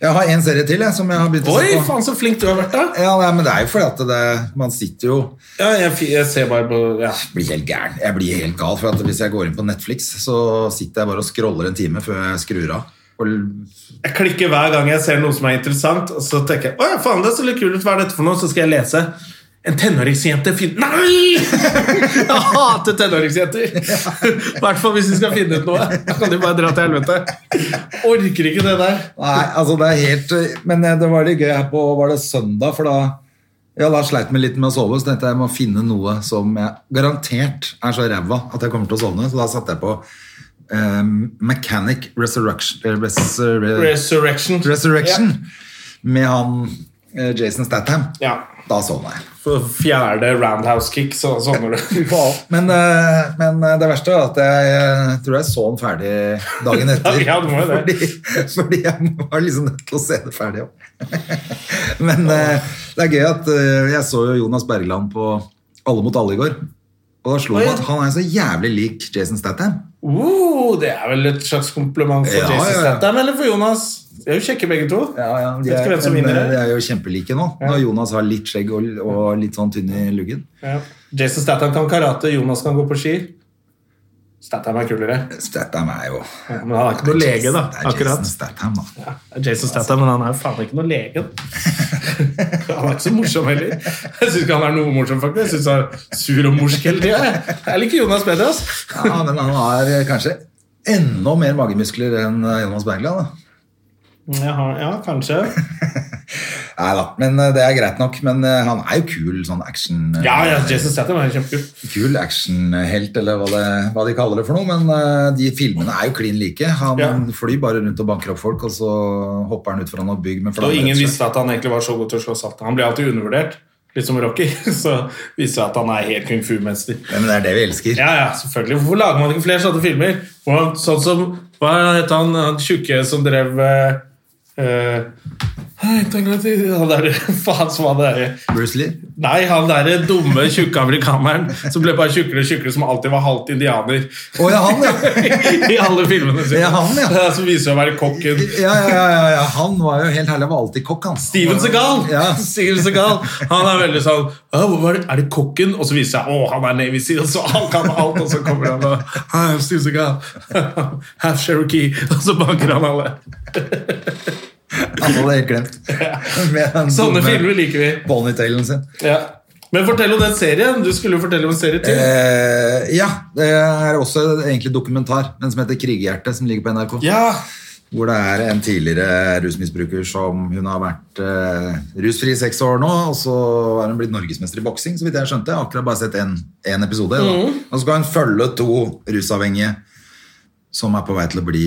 Speaker 1: Jeg har en serie til jeg, som jeg har begynt å
Speaker 2: Oi,
Speaker 1: se på.
Speaker 2: faen så flink du har vært, da!
Speaker 1: Ja, nei, men det er jo fordi at det, man sitter jo
Speaker 2: Ja, jeg, fi- jeg ser bare på ja.
Speaker 1: blir helt gæren. Jeg blir helt gal, for at hvis jeg går inn på Netflix, så sitter jeg bare og scroller en time før jeg skrur av. Og
Speaker 2: Jeg klikker hver gang jeg ser noe som er interessant, og så tenker jeg Å ja, faen, det ser litt kult ut, hva er dette for noe? Så skal jeg lese. En tenåringsjente finner Nei! Jeg hater tenåringsjenter! I hvert fall hvis de skal finne ut noe. Da kan de bare dra til helvete. Orker ikke det der.
Speaker 1: Nei, altså det er helt Men eh, det var litt gøy her på Var det søndag? For da ja, da sleit jeg meg litt med å sove, så tenkte jeg jeg må finne noe som jeg garantert er så ræva at jeg kommer til å sovne. Så da satte jeg på eh, Mechanic Resurrection eh, Resur-
Speaker 2: Resurrection.
Speaker 1: Resurrection med han eh, Jason Statham.
Speaker 2: Ja.
Speaker 1: Da sovna jeg.
Speaker 2: For fjerde roundhouse kick, så sånn sovner du.
Speaker 1: Men, eh, men eh, det verste var at jeg eh, tror jeg så den ferdig dagen etter.
Speaker 2: Ja, du må jo det.
Speaker 1: fordi, fordi jeg var liksom nødt til å se det ferdig òg. Men eh, det er gøy at eh, jeg så jo Jonas Bergland på Alle mot alle i går. Og da slo det meg at han er så jævlig lik Jason Statham.
Speaker 2: Uh, det er vel et slags kompliment for
Speaker 1: Ja,
Speaker 2: Jason
Speaker 1: ja, ja.
Speaker 2: Statham eller for Jonas? Vi er jo kjekke begge to.
Speaker 1: de,
Speaker 2: Vet ikke
Speaker 1: er,
Speaker 2: hvem som
Speaker 1: men,
Speaker 2: vinner
Speaker 1: eh,
Speaker 2: det.
Speaker 1: de er jo kjempelike nå, når Jonas har litt skjegg og, og litt sånn tynn i luggen.
Speaker 2: Ja. Jason Statham kan karate, Jonas kan gå på ski. Statham er kulere.
Speaker 1: Statham er jo
Speaker 2: Men han er ikke noe lege, da.
Speaker 1: Det er Jason
Speaker 2: Akkurat.
Speaker 1: Statham, da.
Speaker 2: Det er Jason Statham, men han er jo faen ikke noe lege. Han er ikke så morsom heller. Jeg syns ikke han er noe morsom, faktisk. Jeg syns han er sur og morsk hele tida. Jeg liker Jonas bedre, ass.
Speaker 1: Ja, men han har eh, kanskje enda mer magemuskler enn eh, Jonas Bergland. da.
Speaker 2: Ja, han- ja, kanskje.
Speaker 1: Nei da, men eh, det er greit nok. Men eh, han er jo kul sånn action. eh,
Speaker 2: Ja, ja, Jason Statham er kjempekul.
Speaker 1: kul actionhelt, eller hva, det, hva de kaller det for noe, men eh, de filmene er jo klin like. Han
Speaker 2: Ja.
Speaker 1: flyr bare rundt og banker opp folk, og så hopper han ut foran noen bygg med
Speaker 2: Og ingen
Speaker 1: flammer.
Speaker 2: visste at han egentlig var så god til å slå salt. Han ble alltid undervurdert, litt som Rocky. Så viser det at han er helt kung fu-mester.
Speaker 1: Ja, men det er det vi elsker.
Speaker 2: Ja, ja, selvfølgelig. Hvorfor lager man ikke flere sånne filmer? Hvordan- sånn som, hva het han, han tjukke som drev eh, eh, hei, takk for at du- Han der, faen som han der
Speaker 1: Bruce Lee.
Speaker 2: Nei, han der dumme, tjukke amerikaneren som ble bare tjukkere og tjukkere, som alltid var halvt indianer
Speaker 1: Å ja, han, ja.
Speaker 2: i alle filmene sine.
Speaker 1: Ja, han, ja.
Speaker 2: Som viser seg å være kokken.
Speaker 1: Ja, ja, ja, ja, ja. Han var jo helt herlig, han var alltid kokk, han.
Speaker 2: Steven Segal!
Speaker 1: Ja.
Speaker 2: Steven Segal. Han er veldig sånn «Å, hva er, det, er det kokken? Og så viser det seg å, han er Navy Seal, så han kan alt. Og så kommer han og Hi, I'm Steven Segal. Half Cherokee. Og så banker han alle.
Speaker 1: Han hadde helt glemt. Med den
Speaker 2: Sånne
Speaker 1: dumme
Speaker 2: filmer liker vi.
Speaker 1: Ponytailen sin.
Speaker 2: Ja. Men fortell om den serien. Du skulle jo fortelle om en serie til.
Speaker 1: Eh, ja, det er også egentlig dokumentar, den som heter Krigehjerte, som ligger på NRK.
Speaker 2: Ja.
Speaker 1: Hvor det er en tidligere rusmisbruker som hun har vært eh, rusfri i seks år nå, og så er hun blitt norgesmester i boksing, så vidt jeg skjønte. Jeg har akkurat bare sett én episode. da.
Speaker 2: Mm.
Speaker 1: Og så skal hun følge to rusavhengige som er på vei til å bli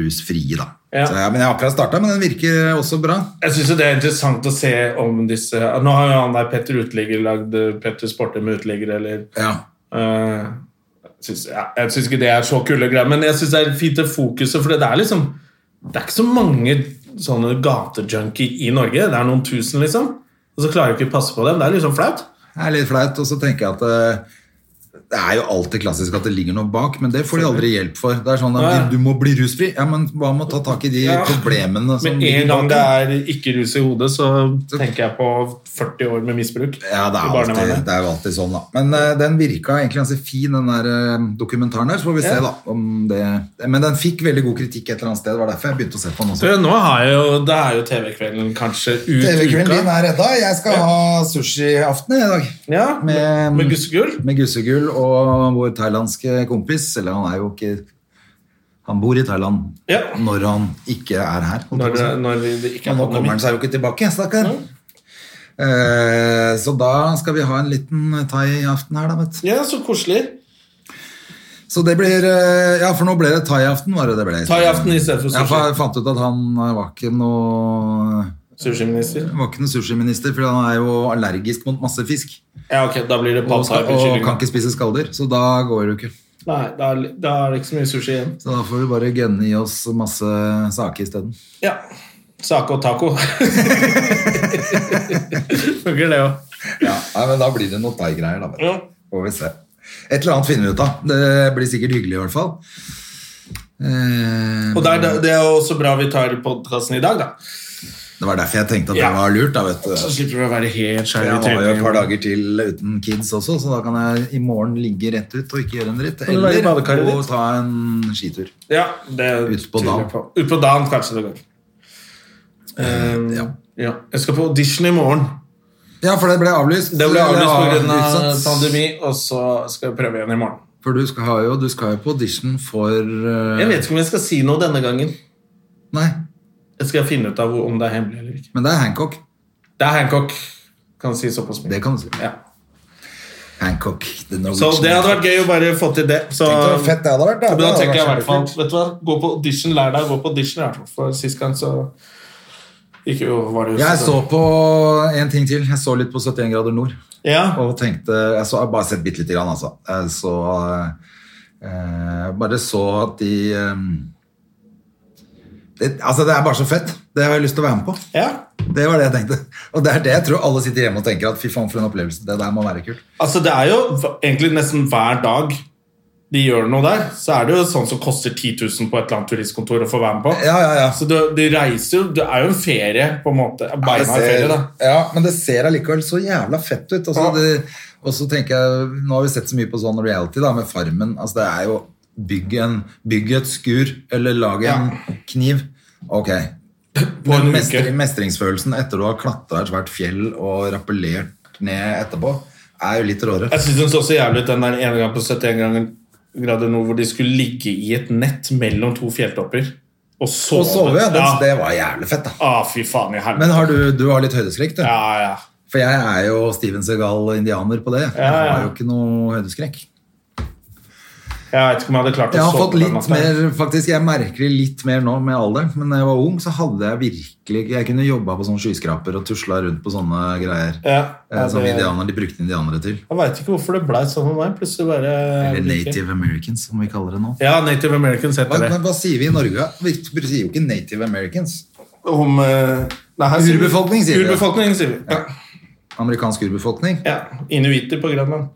Speaker 1: rusfrie, da.
Speaker 2: Ja.
Speaker 1: Så, ja, men jeg har akkurat starta, men den virker også bra.
Speaker 2: Jeg syns det er interessant å se om disse Nå har jo han der Petter Uteligger lagd eh, Petter Sporter med uteliggere, eller
Speaker 1: Ja.
Speaker 2: Eh, synes, ja, jeg syns ikke det er så kule greier, men jeg syns det er fint det fokuset. For det er liksom Det er ikke så mange sånne gatejunkier i Norge. Det er noen tusen, liksom. Og så klarer du ikke å passe på dem. Det er liksom flaut.
Speaker 1: Det er litt flaut, og så tenker jeg at eh, det er jo alltid klassisk at det ligger noe bak, men det får de aldri hjelp for. Det er sånn at
Speaker 2: Ja.
Speaker 1: du må bli rusfri. Ja, men hva med å ta tak i de
Speaker 2: Ja.
Speaker 1: problemene som
Speaker 2: Med
Speaker 1: ligger
Speaker 2: en gang
Speaker 1: bak?
Speaker 2: det er ikke rus i hodet, så tenker jeg på 40 år med misbruk.
Speaker 1: Ja, det er,
Speaker 2: i
Speaker 1: alltid,
Speaker 2: barnevernet.
Speaker 1: det er jo alltid sånn, da. Men eh, den virka egentlig ganske fin, den der eh, dokumentaren der. Så får vi se,
Speaker 2: Ja.
Speaker 1: da. Om det, men den fikk veldig god kritikk et eller annet sted. Det var derfor jeg begynte å se på den også.
Speaker 2: Så nå har jeg jo, det er jo TV-kvelden kanskje ut
Speaker 1: TV-kvelden
Speaker 2: uka.
Speaker 1: din er redda. Jeg skal ha sushiaften i dag.
Speaker 2: Ja,
Speaker 1: Med-
Speaker 2: med, med gussegull.
Speaker 1: Med Gussegull og vår thailandske kompis. Eller han er jo ikke Han bor i Thailand
Speaker 2: Ja.
Speaker 1: når han ikke er her. holdt jeg på
Speaker 2: Når,
Speaker 1: å si.
Speaker 2: når det ikke
Speaker 1: Men
Speaker 2: er
Speaker 1: nå kommer
Speaker 2: pandemi.
Speaker 1: han seg jo ikke tilbake, stakkar. Eh, så da skal vi ha en liten thai-aften her, da, vet du.
Speaker 2: Ja, så koselig.
Speaker 1: Så det blir eh, Ja, for nå ble det thai-aften, var det det ble?
Speaker 2: Thai-aften i stedet for
Speaker 1: Ja, for
Speaker 2: sushi.
Speaker 1: jeg fant ut at han eh, var ikke noe
Speaker 2: Sushiminister.
Speaker 1: var ikke noe sushiminister, for han er jo allergisk mot masse fisk.
Speaker 2: Ja, ok, da blir det
Speaker 1: Og,
Speaker 2: pad thai
Speaker 1: skal,
Speaker 2: med
Speaker 1: og
Speaker 2: kylling.
Speaker 1: kan ikke spise skalldyr, så da går det jo ikke.
Speaker 2: Nei, da er, da er det ikke så mye sushi igjen.
Speaker 1: Så da får vi bare gønne i oss masse saker isteden.
Speaker 2: Ja. Sake og taco. Funker det òg.
Speaker 1: Ja, nei, men da blir det noen thai-greier, da. vet du.
Speaker 2: Ja.
Speaker 1: Får vi se. Et eller annet finner vi ut av. Det blir sikkert hyggelig, i hvert fall. Eh,
Speaker 2: Og det er, det er også bra vi tar podkasten i dag, da.
Speaker 1: det var derfor jeg tenkte at det
Speaker 2: Ja.
Speaker 1: var lurt, da, vet
Speaker 2: Så
Speaker 1: du.
Speaker 2: slipper du å være helt skeiv i
Speaker 1: Jeg har jo et par
Speaker 2: trynet.
Speaker 1: dager til uten kids også, så da kan jeg i morgen ligge rett ut og ikke gjøre en dritt.
Speaker 2: du være i badekaret
Speaker 1: Eller å
Speaker 2: ditt?
Speaker 1: ta en skitur.
Speaker 2: Ja, det
Speaker 1: Ut på dagen.
Speaker 2: Ut på dagen, kanskje det går. Um,
Speaker 1: Eh, ja.
Speaker 2: ja. Jeg skal på audition i morgen.
Speaker 1: Ja, for det ble avlyst.
Speaker 2: Det ble avlyst pga. Av
Speaker 1: Utsatt.
Speaker 2: pandemi, og så skal jeg prøve igjen i morgen.
Speaker 1: For du skal, ha jo, du skal jo på audition for eh,
Speaker 2: Jeg vet ikke om jeg skal si noe denne gangen.
Speaker 1: Nei,
Speaker 2: Jeg skal finne ut av hvor- om det er hemmelig eller ikke.
Speaker 1: men det er Hancock.
Speaker 2: Det er Hancock. Kan si såpass mye.
Speaker 1: Det kan du si.
Speaker 2: Ja.
Speaker 1: Hancock, the
Speaker 2: Så
Speaker 1: Norwegian.
Speaker 2: det hadde vært gøy å bare få til det. Så,
Speaker 1: Tenk så fett det hadde vært, da.
Speaker 2: Men
Speaker 1: Det
Speaker 2: da
Speaker 1: hadde
Speaker 2: tenker jeg i
Speaker 1: vært
Speaker 2: hvert fall
Speaker 1: kjempekult.
Speaker 2: Vet du hva, gå på audition, lær deg å gå på audition. i hvert fall. For sist gang så gikk jo var det jo
Speaker 1: Jeg
Speaker 2: så-
Speaker 1: så på en ting til. Jeg så litt på 71 grader nord.
Speaker 2: Ja.
Speaker 1: Og tenkte Jeg så, jeg har bare sett bitte lite grann, altså. Jeg så eh, Bare så at de eh, det, Altså, det er bare så fett. Det har jeg lyst til å være med på.
Speaker 2: ja.
Speaker 1: Det var det jeg tenkte. Og det er det jeg tror alle sitter hjemme og tenker at fy faen, for en opplevelse. Det der må være kult.
Speaker 2: Altså, det er jo v- egentlig nesten hver dag de gjør noe der, så er det jo sånn som koster 10 000 på et eller annet turistkontor å få være med på.
Speaker 1: Ja, ja, ja.
Speaker 2: Så du, de reiser jo Det er jo en ferie, på en måte.
Speaker 1: Ja, det
Speaker 2: Beinhard ferie, da.
Speaker 1: ja, men det ser allikevel så jævla fett ut. Altså,
Speaker 2: Ja.
Speaker 1: det, og så tenker jeg, Nå har vi sett så mye på sånn reality da, med Farmen. Altså, det er jo bygg, en, bygg et skur eller lag en kniv. Ok.
Speaker 2: På en
Speaker 1: Men
Speaker 2: uke.
Speaker 1: mestring, mestringsfølelsen etter du har klatra et svært fjell og rappellert ned etterpå, er jo litt råere.
Speaker 2: Jeg syns den så så jævlig ut, den der ene gang på 71 ganger grader nord hvor de skulle ligge i et nett mellom to fjelltopper og sove.
Speaker 1: Å sove, ja. Den,
Speaker 2: ja.
Speaker 1: Det var jævlig fett, da.
Speaker 2: Ah, fy faen i helvete.
Speaker 1: Men har du, du har litt høydeskrekk, du?
Speaker 2: Ja, ja.
Speaker 1: For jeg er jo Steven Segal-indianer på det. Jeg
Speaker 2: Ja, ja.
Speaker 1: har jo ikke noe høydeskrekk.
Speaker 2: Jeg vet ikke om jeg hadde klart å
Speaker 1: Jeg har
Speaker 2: sove
Speaker 1: fått
Speaker 2: den
Speaker 1: litt
Speaker 2: natta.
Speaker 1: mer, faktisk, jeg merker det litt mer nå med alderen, men da jeg var ung, så hadde jeg virkelig Jeg kunne jobba på sånne skyskraper og tusla rundt på sånne greier
Speaker 2: Ja,
Speaker 1: eh,
Speaker 2: ja,
Speaker 1: som
Speaker 2: det-
Speaker 1: indianer, de brukte indianere til.
Speaker 2: Jeg veit ikke hvorfor det blei sånn med meg. Plutselig bare
Speaker 1: Eller Native Americans, som vi kaller det nå.
Speaker 2: Ja, Native Americans
Speaker 1: Hva,
Speaker 2: heter det.
Speaker 1: men hva sier vi i Norge? Vi sier jo ikke Native Americans.
Speaker 2: Om eh, nei, her sier vi-
Speaker 1: Urbefolkning, sier vi, ja.
Speaker 2: Urbefolkning, sier vi. Ja.
Speaker 1: Amerikansk urbefolkning.
Speaker 2: ja. Inuitter på Grønland.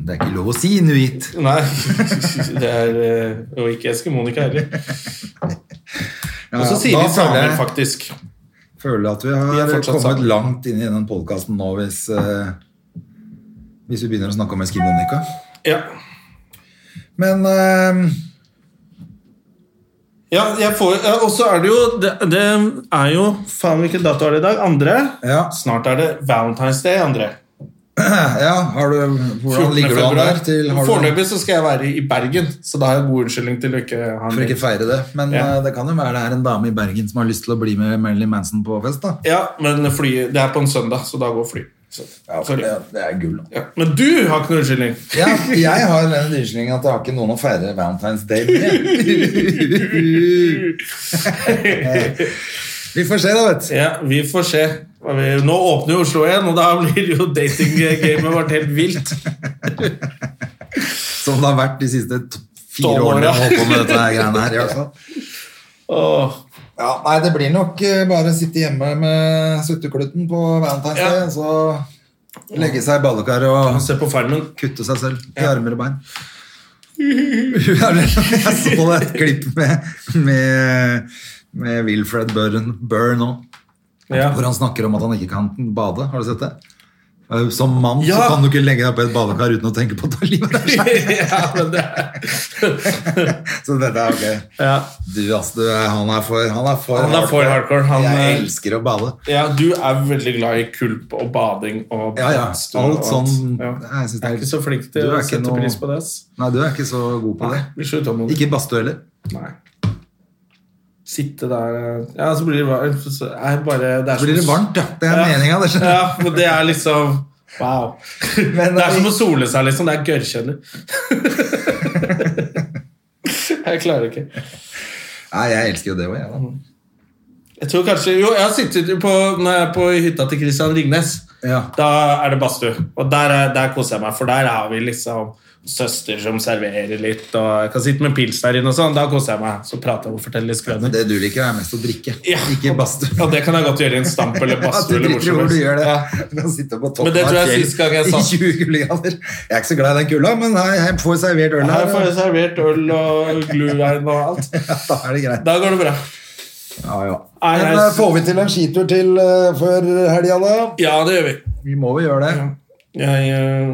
Speaker 1: Det er ikke lov å si inuitt.
Speaker 2: Nei, det er eh, Og ikke Eskimonika heller.
Speaker 1: Ja,
Speaker 2: Og
Speaker 1: ja,
Speaker 2: så sier
Speaker 1: da
Speaker 2: vi samer,
Speaker 1: føler jeg-
Speaker 2: faktisk.
Speaker 1: Føler at vi
Speaker 2: Vi
Speaker 1: har
Speaker 2: er fortsatt
Speaker 1: kommet
Speaker 2: sammen.
Speaker 1: langt inn i den podkasten nå hvis, eh, hvis vi begynner å snakke om Eskimonika.
Speaker 2: Ja.
Speaker 1: Men eh,
Speaker 2: ja jeg får ja, Og så er det jo det, det er jo Faen, hvilken dato er det i dag? Andre?
Speaker 1: eh, ja,
Speaker 2: Snart er det Valentine's Day, André.
Speaker 1: Ja, har du, hvordan
Speaker 2: 14.
Speaker 1: ligger du an
Speaker 2: februar.
Speaker 1: der? Til, har du,
Speaker 2: Foreløpig så skal jeg være i Bergen, så da har jeg god unnskyldning til å ikke ha
Speaker 1: for
Speaker 2: en
Speaker 1: ikke feire det, men
Speaker 2: Ja.
Speaker 1: eh, det kan jo være det er en dame i Bergen som har lyst til å bli med Marilyn Manson på fest. da.
Speaker 2: Ja, men flyet Det er på en søndag, så da går flyet. Så, sorry.
Speaker 1: er gull.
Speaker 2: Ja. Men du har ikke noe unnskyldning.
Speaker 1: Ja, jeg har den unnskyldningen at jeg har ikke noen å feire Valentine's Day med. Vi får se, da, vet du.
Speaker 2: Ja, vi får se. Hva vi- Nå åpner jo Oslo igjen, og da blir jo datinggamet vårt helt vilt.
Speaker 1: Som det har vært de siste t- fire
Speaker 2: Tolv år,
Speaker 1: årene
Speaker 2: ja.
Speaker 1: jeg har holdt på med dette her greiene her. i hvert fall.
Speaker 2: Åh.
Speaker 1: Ja, nei, det blir nok eh, bare å sitte hjemme med suttekluten på Valentine's
Speaker 2: Ja.
Speaker 1: Day, og så legge seg i badekar og
Speaker 2: Se på Farmen.
Speaker 1: kutte seg selv i armer og bein. Jeg så det et klipp med, med, med Wilfred Burn, Burn nå,
Speaker 2: Ja.
Speaker 1: hvor han snakker om at han ikke kan bade. Har du sett det? Eh, Som mann så
Speaker 2: Ja.
Speaker 1: kan du ikke legge deg på et badekar uten å tenke på å ta livet av deg.
Speaker 2: ja, men det er
Speaker 1: Så dette er ok.
Speaker 2: ja.
Speaker 1: Du, ass, du, er- han er for, han er for
Speaker 2: Han er for hardcore. Han,
Speaker 1: jeg
Speaker 2: eh,
Speaker 1: elsker å bade.
Speaker 2: ja, du er veldig glad i kulp og bading og
Speaker 1: Ja, ja.
Speaker 2: badstue og
Speaker 1: Alt sånn
Speaker 2: Ja.
Speaker 1: Nei, jeg synes det
Speaker 2: Jeg er ikke så flink til
Speaker 1: Du er
Speaker 2: å
Speaker 1: ikke
Speaker 2: sette
Speaker 1: noe-
Speaker 2: pris på det. ass.
Speaker 1: Nei, du er ikke så god på
Speaker 2: Nei,
Speaker 1: det.
Speaker 2: blir så utålmodig.
Speaker 1: Ikke badstue heller.
Speaker 2: Nei. Sitte der eh, Ja, så blir det varmt. Så er det bare, det er
Speaker 1: Så blir det
Speaker 2: som-
Speaker 1: varmt, ja. Det er
Speaker 2: Ja.
Speaker 1: meningen meninga.
Speaker 2: Ja, men det er liksom Wow.
Speaker 1: Men
Speaker 2: det er som
Speaker 1: vi-
Speaker 2: å sole seg, liksom. Det er gørrkjedelig. jeg klarer ikke.
Speaker 1: eh, Nei, jeg elsker jo det òg, jeg. da.
Speaker 2: Jeg tror kanskje, jo, jeg har sittet på, når jeg er på hytta til Christian Ringnes.
Speaker 1: Ja.
Speaker 2: Da er det badstue. Og der, er- der koser jeg meg, for der har vi liksom søster som serverer litt, og jeg kan sitte med en pils der inne og sånn. Da koser jeg meg. Så prater jeg og forteller litt skrøner.
Speaker 1: Det du liker, er mest å drikke,
Speaker 2: Ja.
Speaker 1: ikke badstue.
Speaker 2: Ja, det kan jeg godt gjøre i en stamp eller
Speaker 1: Ja, du
Speaker 2: badstue eller hvor
Speaker 1: driter i
Speaker 2: som
Speaker 1: hvor du
Speaker 2: helst.
Speaker 1: gjør det.
Speaker 2: Ja.
Speaker 1: Du kan sitte på
Speaker 2: Men
Speaker 1: toppen
Speaker 2: det tror jeg
Speaker 1: fjell
Speaker 2: sist gang jeg
Speaker 1: i
Speaker 2: satt.
Speaker 1: 20 kuldegrader. Jeg er ikke så glad i den kulda, men nei, jeg får servert øl
Speaker 2: Her
Speaker 1: her.
Speaker 2: får jeg servert øl og gluvein og alt.
Speaker 1: Ja, da er det greit.
Speaker 2: Da går det bra.
Speaker 1: Ja, ja.
Speaker 2: Nei,
Speaker 1: Men
Speaker 2: nei,
Speaker 1: eh, får vi til en skitur til eh, før helga, da?
Speaker 2: Ja, det gjør vi.
Speaker 1: Vi må jo gjøre det.
Speaker 2: Jeg, eh,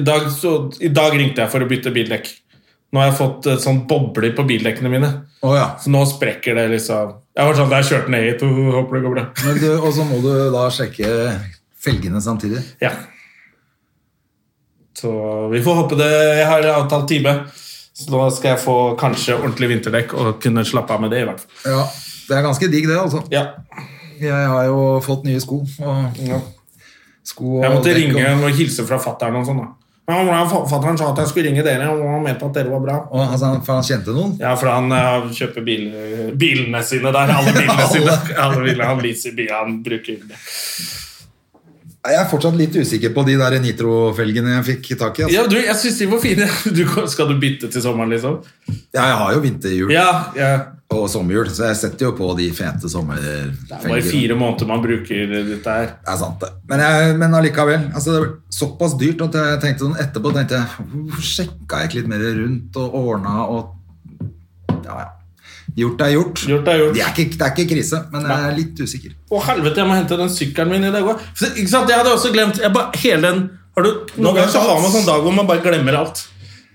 Speaker 2: i, dag, så, I dag ringte jeg for å bytte bildekk. Nå har jeg fått eh, sånn bobler på bildekkene mine.
Speaker 1: Å ja.
Speaker 2: Så nå sprekker det liksom. Jeg var sånn, da har jeg kjørt ned hit og håper det går bra.
Speaker 1: Men du, og så må du da sjekke felgene samtidig.
Speaker 2: Ja. Så vi får håpe det. Jeg har avtalt time. Så nå skal jeg få kanskje ordentlig vinterdekk og kunne slappe av med det i hvert fall.
Speaker 1: Ja, Det er ganske digg, det, altså.
Speaker 2: Ja.
Speaker 1: Jeg har jo fått nye sko. Og sko og
Speaker 2: Jeg måtte
Speaker 1: dekk og-
Speaker 2: ringe og hilse fra fatteren og sånn da. Ja, hvordan fatteren sa at jeg skulle ringe dere, og han mente at dere var bra.
Speaker 1: Og, altså, han- for han kjente noen?
Speaker 2: Ja, for han eh, kjøper bil, bilene sine der. Alle bilene sine. Alle bilene, han leaser bil, han bruker det.
Speaker 1: Jeg er fortsatt litt usikker på de der nitrofelgene jeg fikk tak i. Altså.
Speaker 2: Ja, du, jeg synes de var fine. Du, skal du bytte til sommeren, liksom?
Speaker 1: Ja, jeg har jo vinterhjul
Speaker 2: Ja, ja.
Speaker 1: og sommerhjul, så jeg setter jo på de fete
Speaker 2: Det er bare
Speaker 1: sommerfelgene.
Speaker 2: fire måneder man bruker dette her.
Speaker 1: Det er sant, det. Men, jeg, men allikevel. Altså, det var såpass dyrt at jeg tenkte sånn etterpå tenkte jeg, Hvorfor sjekka jeg ikke litt mer rundt og ordna og Ja, ja. Gjort er gjort.
Speaker 2: Gjort er gjort.
Speaker 1: Det, er ikke, det er ikke krise, men jeg er litt usikker.
Speaker 2: Å, helvete, jeg må hente den sykkelen min i dag òg. Ikke sant, jeg hadde også glemt jeg bare, hele den har du, Noen ganger så har man sånn dag hvor man bare glemmer alt.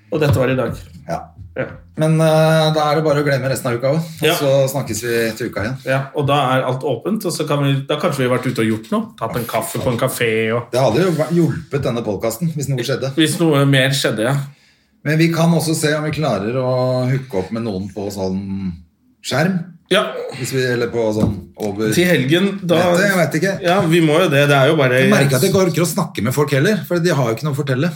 Speaker 2: Og dette var i dag.
Speaker 1: Ja.
Speaker 2: Ja.
Speaker 1: Men eh, da er det bare å glemme resten av uka òg, og
Speaker 2: Ja.
Speaker 1: så snakkes vi til uka igjen.
Speaker 2: Ja, og da er alt åpent, og så kan vi, da kanskje vi har vært ute og gjort noe. Tatt en kaffe på en kafé og
Speaker 1: Det hadde jo vært- hjulpet denne podkasten hvis noe skjedde.
Speaker 2: Hvis noe mer skjedde, ja.
Speaker 1: Men vi kan også se om vi klarer å hooke opp med noen på sånn skjerm.
Speaker 2: Ja,
Speaker 1: Hvis vi, eller på sånn over
Speaker 2: til helgen, da
Speaker 1: Vet du, jeg vet ikke.
Speaker 2: Ja, vi må jo det. Det er jo bare
Speaker 1: Jeg merker at jeg ikke orker å snakke med folk heller, for de har jo ikke noe å fortelle.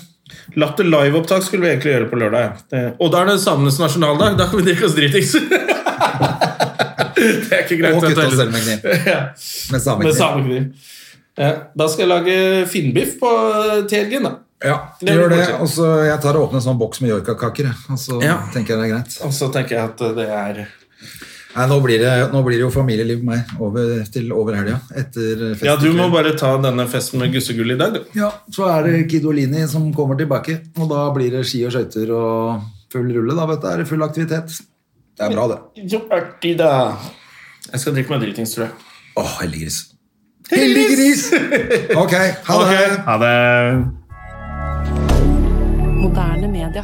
Speaker 2: Latter live-opptak skulle vi egentlig gjøre på lørdag. Ja. Det, og da er det samenes nasjonaldag. Da kan vi drikke oss dritings. det er ikke greit.
Speaker 1: Og kutte oss
Speaker 2: eventuelt.
Speaker 1: selv med kniv.
Speaker 2: ja,
Speaker 1: Med samme
Speaker 2: med
Speaker 1: kniv.
Speaker 2: samekniv. Ja, da skal jeg lage finnbiff på til helgen, da.
Speaker 1: Ja,
Speaker 2: Det
Speaker 1: gjør
Speaker 2: blir
Speaker 1: det.
Speaker 2: koselig.
Speaker 1: Og så jeg tar og åpner en sånn boks med joikakaker, jeg, og så
Speaker 2: Ja.
Speaker 1: tenker jeg det er greit.
Speaker 2: Og så tenker jeg at det er
Speaker 1: Nei, nå blir det, nå blir det jo familieliv på meg over, til over helga etter festen.
Speaker 2: Ja, du må bare ta denne festen med gussegull i dag, du.
Speaker 1: Ja, så er det Kidolini som kommer tilbake, og da blir det ski og skøyter og full rulle, da, vet du. Da Er det full aktivitet. Det er bra, det.
Speaker 2: Så artig, da. Jeg skal drikke meg dritings, tror jeg.
Speaker 1: Åh, heldiggris. Heldiggris! Ok, ha det.
Speaker 2: Ok, Ha det.
Speaker 3: Moderne media.